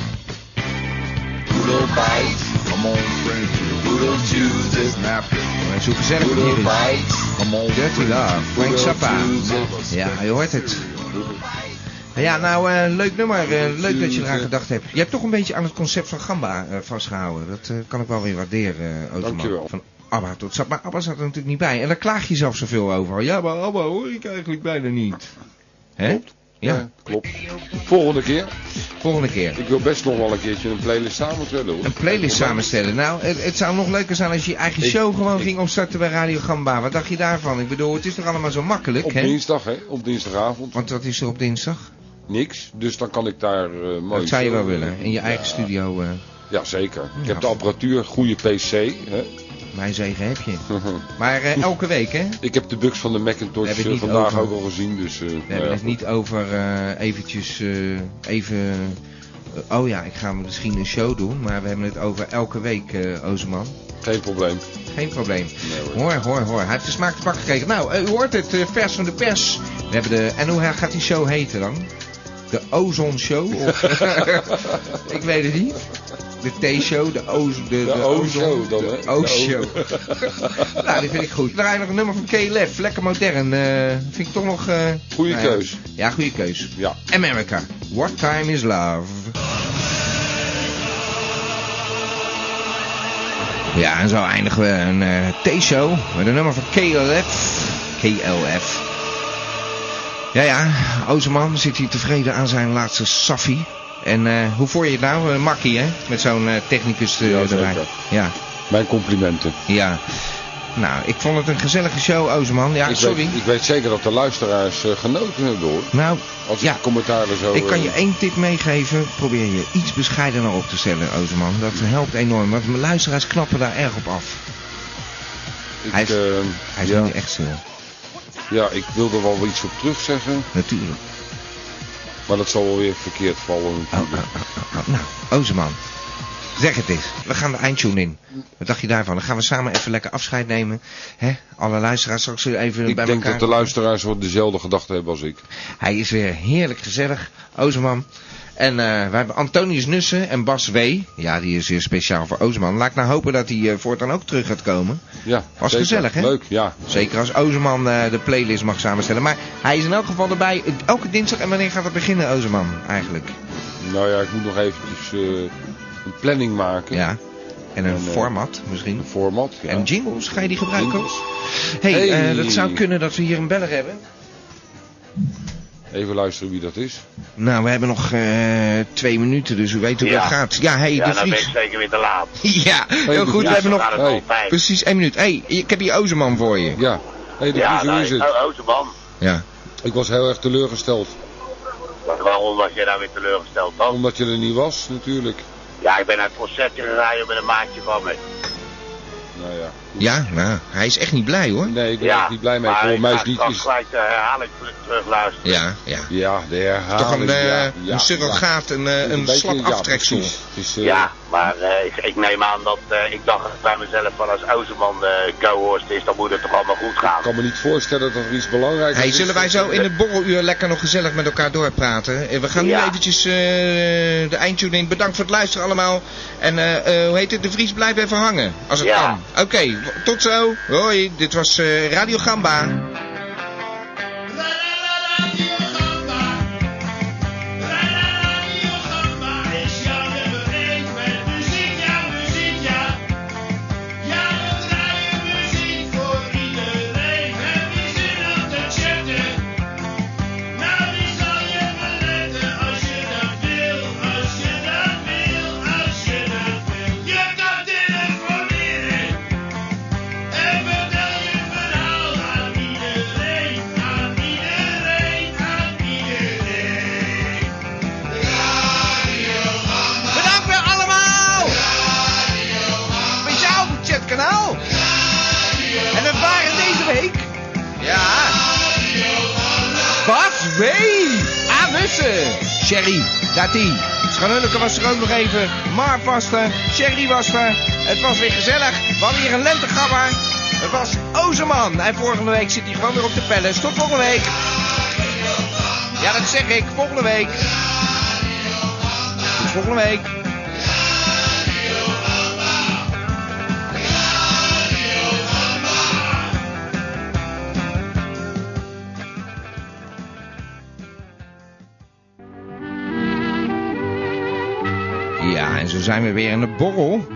Poodle bite. Come on, friend. Poodle chooses napkin. En zo gezellig het hier is. Dirty Love, Frank Zappa. Ja, je hoort het. Ja, nou, eh, leuk nummer. Eh, leuk dat je eraan gedacht hebt. Je hebt toch een beetje aan het concept van Gamba eh, vastgehouden. Dat eh, kan ik wel weer waarderen, eh Oterman.
Dankjewel.
Van Abba tot Zappa. Maar Abba zat er natuurlijk niet bij. En daar klaag je zelf zoveel over. Ja, maar Abba hoor ik eigenlijk bijna niet. Hè? Klopt. Ja.
klopt. Volgende keer.
Volgende keer.
Ik wil best nog wel een keertje een playlist samenstellen hoor.
Een playlist samenstellen. Nou, het, het zou nog leuker zijn als je je eigen
Ik-
show gewoon ging opstarten bij Radio Gamba. Wat dacht je daarvan? Ik bedoel, het is toch allemaal zo makkelijk,
Op
hè?
dinsdag hè, op dinsdagavond.
Want wat is er op dinsdag?
Niks, dus dan kan ik daar eh mooi...
Dat zou je wel
zo-
willen. In je eigen studio. eh
Ja, zeker. Ik
Ja.
heb de apparatuur, goede PC. Hè.
Mijn zegen heb je. maar eh, elke week, hè?
Ik heb de bugs van de
We
Macintosh
hebben
eh,
het niet
vandaag
over.
ook al gezien, dus... eh,
We
nou ja,
hebben het niet over eh, eventjes eh, even... eh, oh ja, ik ga misschien een show doen, maar we hebben het over elke week, eh Ozeman.
Geen probleem.
Geen probleem. hoor, hoor, hoor. Hij heeft de smaak te pakken gekregen. Nou, eh, u hoort het, eh, vers van de pers. We hebben de... En hoe gaat die show heten dan? De Ozon Show? Of, ik weet het niet. De T-show, de Ozon... De, Oh,
De O-show
Ozon-
oh, dan,
de
hè? Oh,
O-show.
De O-
nou, die vind ik goed. Draai nog een nummer van KLF. Lekker modern. eh, vind ik toch nog... eh
Goeie
nou ja.
keus.
Ja, goede keus.
Ja.
America. What time is love? Ja, en zo eindigen we een eh, T-show met een nummer van KLF. KLF. Ja, ja, Ozerman zit hier tevreden aan zijn laatste Safi. En eh, hoe voel je het nou? Eh, makkie, hè? Met zo'n eh, technicus eh, erbij. Ja.
Mijn complimenten.
Ja. Nou, ik vond het een gezellige show, Ozerman. Ja,
ik,
sorry.
Weet, ik weet zeker dat de luisteraars eh, genoten hebben hoor.
Nou,
Als ik de commentaren zo...
Ik kan
eh,
je één tip meegeven. Probeer je iets bescheidener op te stellen, Ozerman. Dat helpt enorm, want mijn luisteraars knappen daar erg op af.
ik,
hij is-
eh,
Hij is
ja,
nu echt stil.
ja, ik wil er wel iets op terugzeggen.
Natuurlijk.
Maar dat zal wel weer verkeerd vallen natuurlijk.
Oh, nou, Ozerman. Zeg het eens. We gaan de eindtune in. Wat dacht je daarvan? Dan gaan we samen even lekker afscheid nemen. Hè? Alle luisteraars straks weer even
Ik
bij
denk
elkaar.
dat de luisteraars wel dezelfde gedachten hebben als ik.
Hij is weer heerlijk gezellig, Ozerman. En eh, wij hebben Antonius Nussen en Bas W. Ja, die is weer speciaal voor Ozerman. Laat ik nou hopen dat hij eh, voortaan ook terug gaat komen.
Ja,
Was
zeker.
gezellig, hè?
Leuk, ja.
Zeker als Ozerman eh, de playlist mag samenstellen. Maar hij is in elk geval erbij eh, elke dinsdag. En wanneer gaat het beginnen, Ozerman, eigenlijk?
Nou ja, ik moet nog eventjes eh, een planning maken.
Ja. En een
eh,
format misschien.
Een format, ja.
En jingles, ga je die gebruiken?
Jingles.
Hé, hey,
Hey.
eh, dat zou kunnen dat we hier een beller hebben.
Even luisteren wie dat is.
Nou, we hebben nog eh, twee minuten, dus u weet hoe
Ja.
dat gaat. Ja, hey, de
ja, dan ben
Vries.
ik zeker weer te laat.
Ja, heel goed.
Ja,
we hebben
zo
nog
gaat het
Hey,
altijd.
precies één minuut. hey, ik heb hier Ozerman voor je.
Ja. hey, de
ja,
Vries, hoe is het?
Oh, Ozerman.
Ja.
Ik was heel erg teleurgesteld.
Waarom was jij nou weer teleurgesteld dan?
Omdat je er niet was, natuurlijk.
Ja, ik ben naar het concertje gegaan joh, met een maatje van me.
Nou ja.
Ja, nou, hij is echt niet blij hoor.
Nee, ik ben er niet blij mee.
maar
Voor
ik
mij
ga
is niet...
straks
is-
gelijk de herhaling terug- terugluisteren.
Ja, ja.
Ja, de herhaling.
Toch een, eh,
ja,
een
ja,
surrogaat,
ja.
een, eh,
Een
een
beetje,
slap
ja,
aftreksel.
precies. Het is, eh,
Ja, maar eh, ik, ik neem aan dat eh, ik dacht bij mezelf van als Ozerman eh co-host is, dan moet het toch allemaal goed gaan.
Ik kan me niet voorstellen dat er iets belangrijks
Hey,
is.
zullen wij zo in het borreluur lekker nog gezellig met elkaar doorpraten? Eh, We gaan nu
Ja.
eventjes eh, de eindtune in. Bedankt voor het luisteren allemaal. En eh, eh, hoe heet het? De Vries blijft even hangen, als het
Ja.
kan. Oké, w- tot zo. Hoi, dit was eh, Radio Gamba.
Is jouw nummer 1 met muziek, ja, muziek, ja. Ja, we draaien muziek voor iedereen. Heb je zin om te chatten? Nou, die zal je beletten als je dat wil, als je dat wil, als je dat wil. Je kan telefoneren en vertel je verhaal aan iedereen, aan iedereen, aan iedereen.
Bedankt weer allemaal! Speciaal voor het kanaal. En dat waren deze week. Ja. Bas W. Anussen. Sherry, Dati. Schanunneke was er ook nog even. Mark was er. Sherry was er. Het was weer gezellig. We hadden hier een lentegabber. Het was Ozerman. En volgende week zit hij gewoon weer op de palace. Tot volgende week. Ja. Ja, dat zeg ik. Volgende week. Tot volgende week. Ja, en zo zijn we weer in de borrel.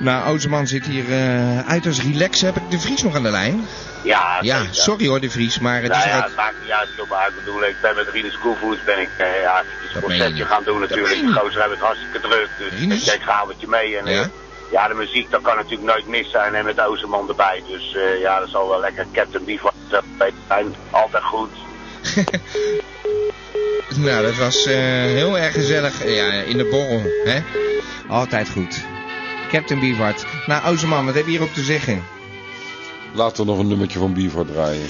Nou, Oosterman zit hier eh uiterst relaxed. Heb ik de Vries nog aan de lijn?
Ja,
Ja,
zeker.
sorry hoor, de Vries, maar het
nou
is
ja,
eruit...
het maakt niet uit, joh, maar ik bedoel, ik ben met Rinus Koelvoets ben ik eh, ja, een
meen je
concertje
niet.
gaan doen natuurlijk.
meen je
Die gozer hebben het hartstikke druk, dus ik denk, ga met je mee. En, eh, ja? de muziek, dat kan natuurlijk nooit mis zijn en met Ozerman erbij. Dus eh, ja, dat zal wel lekker. Captain Beefheart, dat weet zijn altijd goed.
Nou, dat was eh, heel erg gezellig. Ja, in de borrel, hè? Altijd goed. Captain Bivart. Nou, Oosterman, wat heb je hierop te zeggen?
Laten we nog een nummertje van Beaver draaien.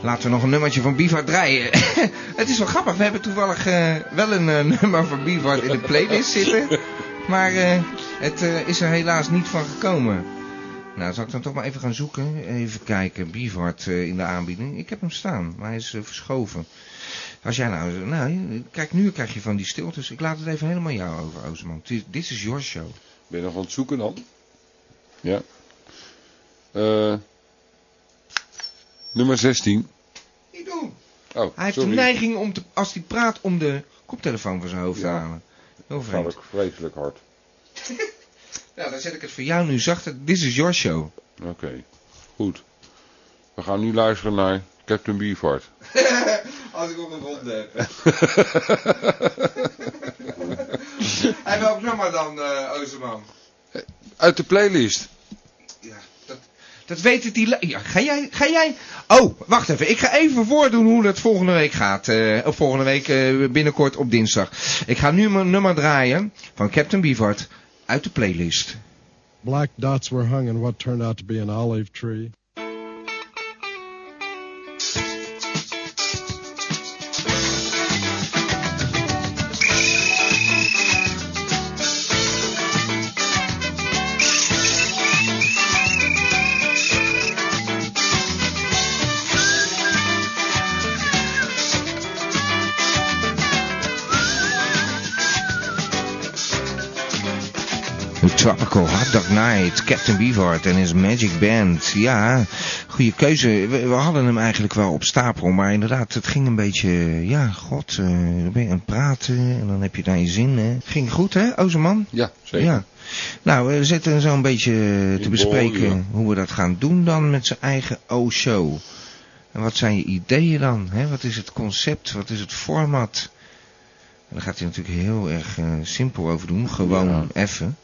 Laten we nog een nummertje van Bivart draaien. het is wel grappig, we hebben toevallig eh, wel een eh, nummer van Bivart in de playlist zitten. Maar eh, het eh, is er helaas niet van gekomen. Nou, zal ik dan toch maar even gaan zoeken. Even kijken, Bivart eh, in de aanbieding. Ik heb hem staan, maar hij is eh, verschoven. Als jij nou, nou, kijk, nu krijg je van die stiltes. Ik laat het even helemaal jou over, Oosterman. Dit- Dit is your show.
Ben je nog aan het zoeken dan? Ja. Eh, nummer 16.
Niet doen.
Oh,
Hij heeft
sorry.
de neiging om, te, als hij praat, om de koptelefoon van zijn hoofd te
Ja.
halen. Heel
Dat
vreemd.
ik vreselijk hard.
Nou, dan zet ik het voor jou nu zachter. This is your show.
Oké, goed. We gaan nu luisteren naar Captain Beefheart.
Als ik op mijn mond heb. en welk nummer dan, eh Oosterman?
Uit de playlist.
Dat weet het die... lu- Ja, ga jij... Ga jij... Oh, wacht even. Ik ga even voordoen hoe het volgende week gaat. eh, of volgende week eh, binnenkort op dinsdag. Ik ga nu mijn nummer draaien van Captain Beefheart uit de playlist.
Black dots were hung in what turned out to be an olive tree.
Een Tropical Hot Dog Night, Captain Beefheart en his Magic Band. Ja, goede keuze. We, we hadden hem eigenlijk wel op stapel, maar inderdaad, het ging een beetje... Ja, god, eh, dan ben je aan het praten en dan heb je daar je zin. Hè. Ging goed, hè, Ozerman?
Ja, zeker.
Ja. Nou, we zitten zo een beetje te bespreken
borreluur.
hoe we dat gaan doen dan met zijn eigen O-show. En wat zijn je ideeën dan? Hè? Wat is het concept? Wat is het format? En daar gaat hij natuurlijk heel erg eh, simpel over doen. Gewoon effen.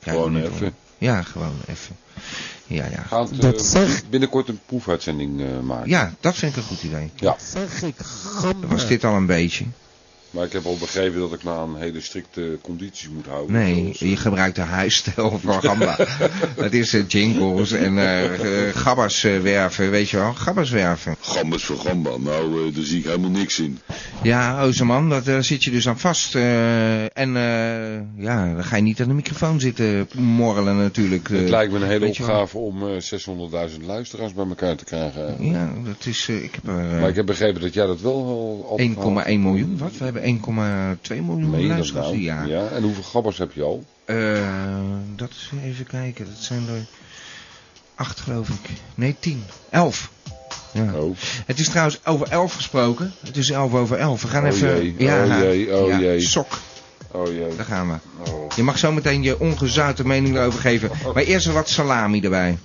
Kijk,
Gewoon
niet hoor.
effen.
Ja, gewoon effen. Ja, ja.
Gaat eh,
Dat zeg-
binnenkort een proefuitzending eh, maken.
Ja, dat vind ik een goed idee.
Ja.
Zeg ik
Dan was dit al een beetje.
Maar ik heb al begrepen dat ik me aan hele strikte condities moet houden.
Nee,
Zoals, eh,
je gebruikt de huisstijl van Gamba. Het is eh, jingles en eh eh, gabbers eh, werven, weet je wel. Gabbers werven.
Gambas voor gamba, nou eh, daar zie ik helemaal niks in.
Ja, Ozerman, dat- daar zit je dus aan vast. eh, en eh, ja, dan ga je niet aan de microfoon zitten morrelen natuurlijk. eh,
het lijkt me een hele
weet je wel.
opgave om eh, 600.000 luisteraars bij elkaar te krijgen. eigenlijk.
Ja, dat is... eh, ik heb er... eh,
maar ik heb begrepen dat jij dat wel al... al
1,1 miljoen, wat? We hebben 1,2 miljoen
Meen je dat
luisteraars.
nou?
Ja.
ja. En hoeveel gabbers heb je al?
Eh, dat is even kijken, dat zijn er acht geloof ik. Nee, tien. Elf. Ja. Het is trouwens over elf gesproken. Het is elf over elf. We gaan
Oh
even...
jee, oh jee, oh
ja,
jee.
Sok.
Oh jee. Oh.
Daar gaan we. Je mag zo meteen je ongezouten mening erover geven. Maar eerst er wat salami erbij.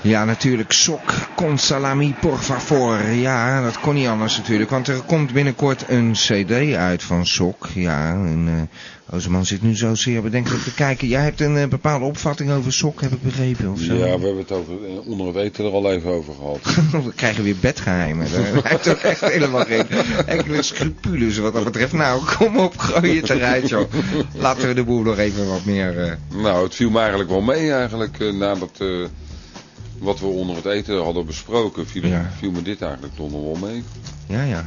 Ja, natuurlijk. Sok, con salami, por favor. Ja, dat kon niet anders natuurlijk. Want er komt binnenkort een cd uit van Sok. Ja, en eh Ozerman zit nu zo zeer bedenkelijk te kijken. Jij hebt een eh, bepaalde opvatting over Sok, heb ik begrepen. Of zo.
Ja, we hebben het over, eh, onder een weten er al even over gehad.
We krijgen weer bedgeheimen. Hij heeft ook echt helemaal geen enkele scrupules wat dat betreft. Nou, kom op, gooi het eruit, joh. Laten we de boel nog even wat meer... eh,
Nou, het viel me eigenlijk wel mee eigenlijk eh, nadat eh, wat we onder het eten hadden besproken, viel, viel me dit eigenlijk toch nog wel mee.
Ja, ja.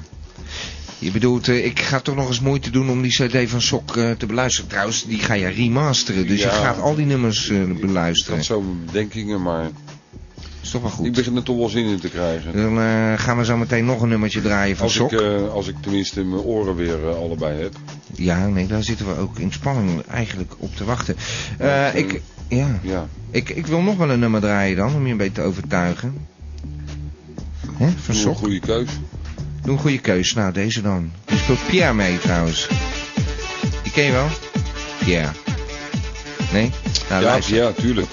Je bedoelt, eh, ik ga toch nog eens moeite doen om die cd van Sok eh, te beluisteren. Trouwens, die ga je remasteren. Dus
Ja.
je gaat al die nummers eh,
Ik
beluisteren.
had zo mijn bedenkingen, maar
is toch wel goed.
Ik begin er toch wel zin in te krijgen.
Dan eh, gaan we zo meteen nog een nummertje draaien van
Als ik,
Sok.
eh, als ik tenminste mijn oren weer eh, allebei heb.
Ja, nee, daar zitten we ook in spanning eigenlijk op te wachten. Eh,
Ja,
ik, ja. Ik, ik wil nog wel een nummer draaien dan, om je een beetje te overtuigen. Hè, van
Doe een
Sok.
goede keus.
Doe een goede keus. Nou, deze dan. Er speelt Pierre mee trouwens. Die ken je wel? Pierre. Nee? Nou,
ja,
luister.
ja, tuurlijk.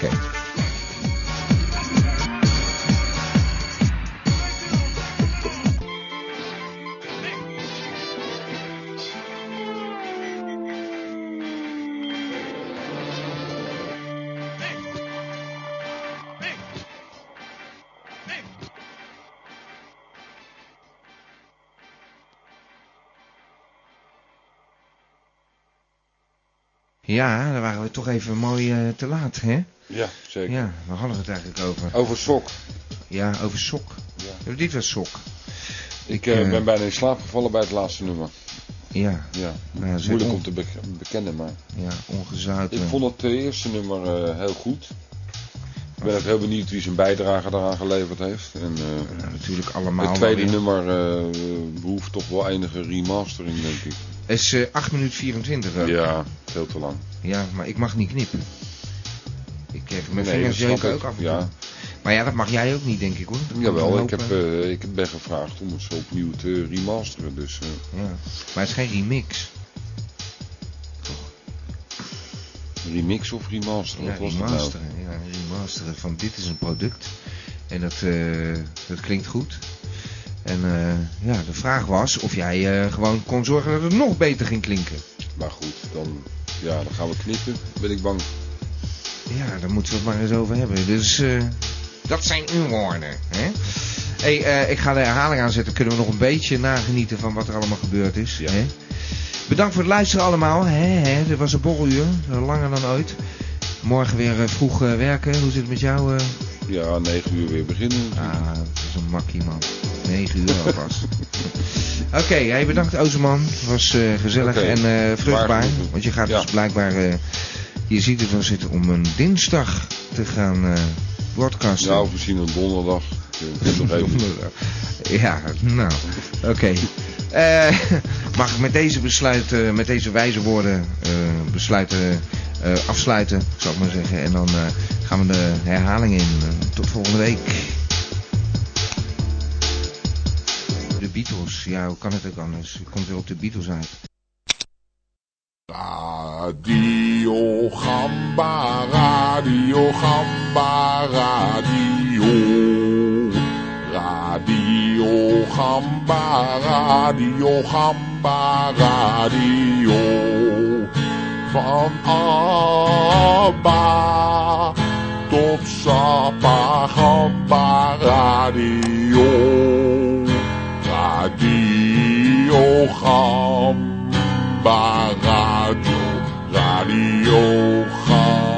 Ja, daar waren we toch even mooi eh, te laat, hè?
Ja, zeker.
Ja, waar hadden we het eigenlijk over?
Over Sok.
Ja, over Sok. Ja. Dit was Sok.
Ik eh,
eh,
ben bijna in slaap gevallen bij het laatste nummer.
Ja.
Ja,
Nou, ze-
moeilijk om te bek- bekennen, maar...
Ja, ongezouten.
Ik vond het eh, eerste nummer eh, heel goed. Ik ben ook heel benieuwd wie zijn bijdrage daaraan geleverd heeft. En, eh,
Nou, natuurlijk allemaal
Het tweede
wel weer.
nummer eh, behoeft toch wel enige remastering, denk ik.
Het is eh 8 minuten 24 ook.
Ja, veel te lang.
Ja, maar ik mag niet knippen. Ik krijg mijn
Nee,
vingers
dat snap
jeuken
ik,
ook af en toe.
ja.
Maar ja, dat mag jij ook niet, denk ik hoor. Dat komt
Jawel,
wel
ik, heb,
op, eh,
eh, ik ben gevraagd om het zo opnieuw te remasteren. Dus, eh,
ja. Maar het is geen remix.
Remix of remasteren?
Ja,
wat was nou?
remasteren. Ja, remasteren van dit is een product. En dat, eh, dat klinkt goed. En eh, ja, de vraag was of jij eh, gewoon kon zorgen dat het nog beter ging klinken.
dat nou? Maar goed, dan, ja, dan gaan we knippen. Ben ik bang.
Ja, daar moeten we het maar eens over hebben. Dus eh, dat zijn uw woorden. Hè? Hey, eh, ik ga de herhaling aanzetten. Kunnen we nog een beetje nagenieten van wat er allemaal gebeurd is. Hè? Bedankt voor het luisteren allemaal. Hè, hè? Dit was een borreluur. Eh, Langer dan ooit. Morgen weer eh, vroeg eh, werken. Hoe zit het met jou? eh?
Ja, 9 uur weer beginnen.
Ah, dat is een makkie man. 9 uur alvast. Oké, hey, bedankt Ozeman. Het was eh, gezellig
Oké,
en eh,
waar
vruchtbaar.
genoegen.
Want je gaat
Ja.
dus blijkbaar... eh, je ziet ervan zitten om een dinsdag te gaan eh broadcasten.
Ja, of misschien een donderdag. Ik weet het nog even.
Ja, nou, oké. Eh, mag ik met deze besluiten, met deze wijze woorden eh, besluiten, eh, afsluiten, zou ik maar zeggen. En dan eh, gaan we de herhaling in. Eh, tot volgende week. De Beatles, ja, hoe kan het ook anders? Je komt weer op de Beatles uit.
Radio Gamba, Radio Gamba, Radio. Radio Gamba, Radio Gamba, Radio. Van Abba tot Sapa Gamba, Radio. Radio Gamba. Radio, Radio Gamba.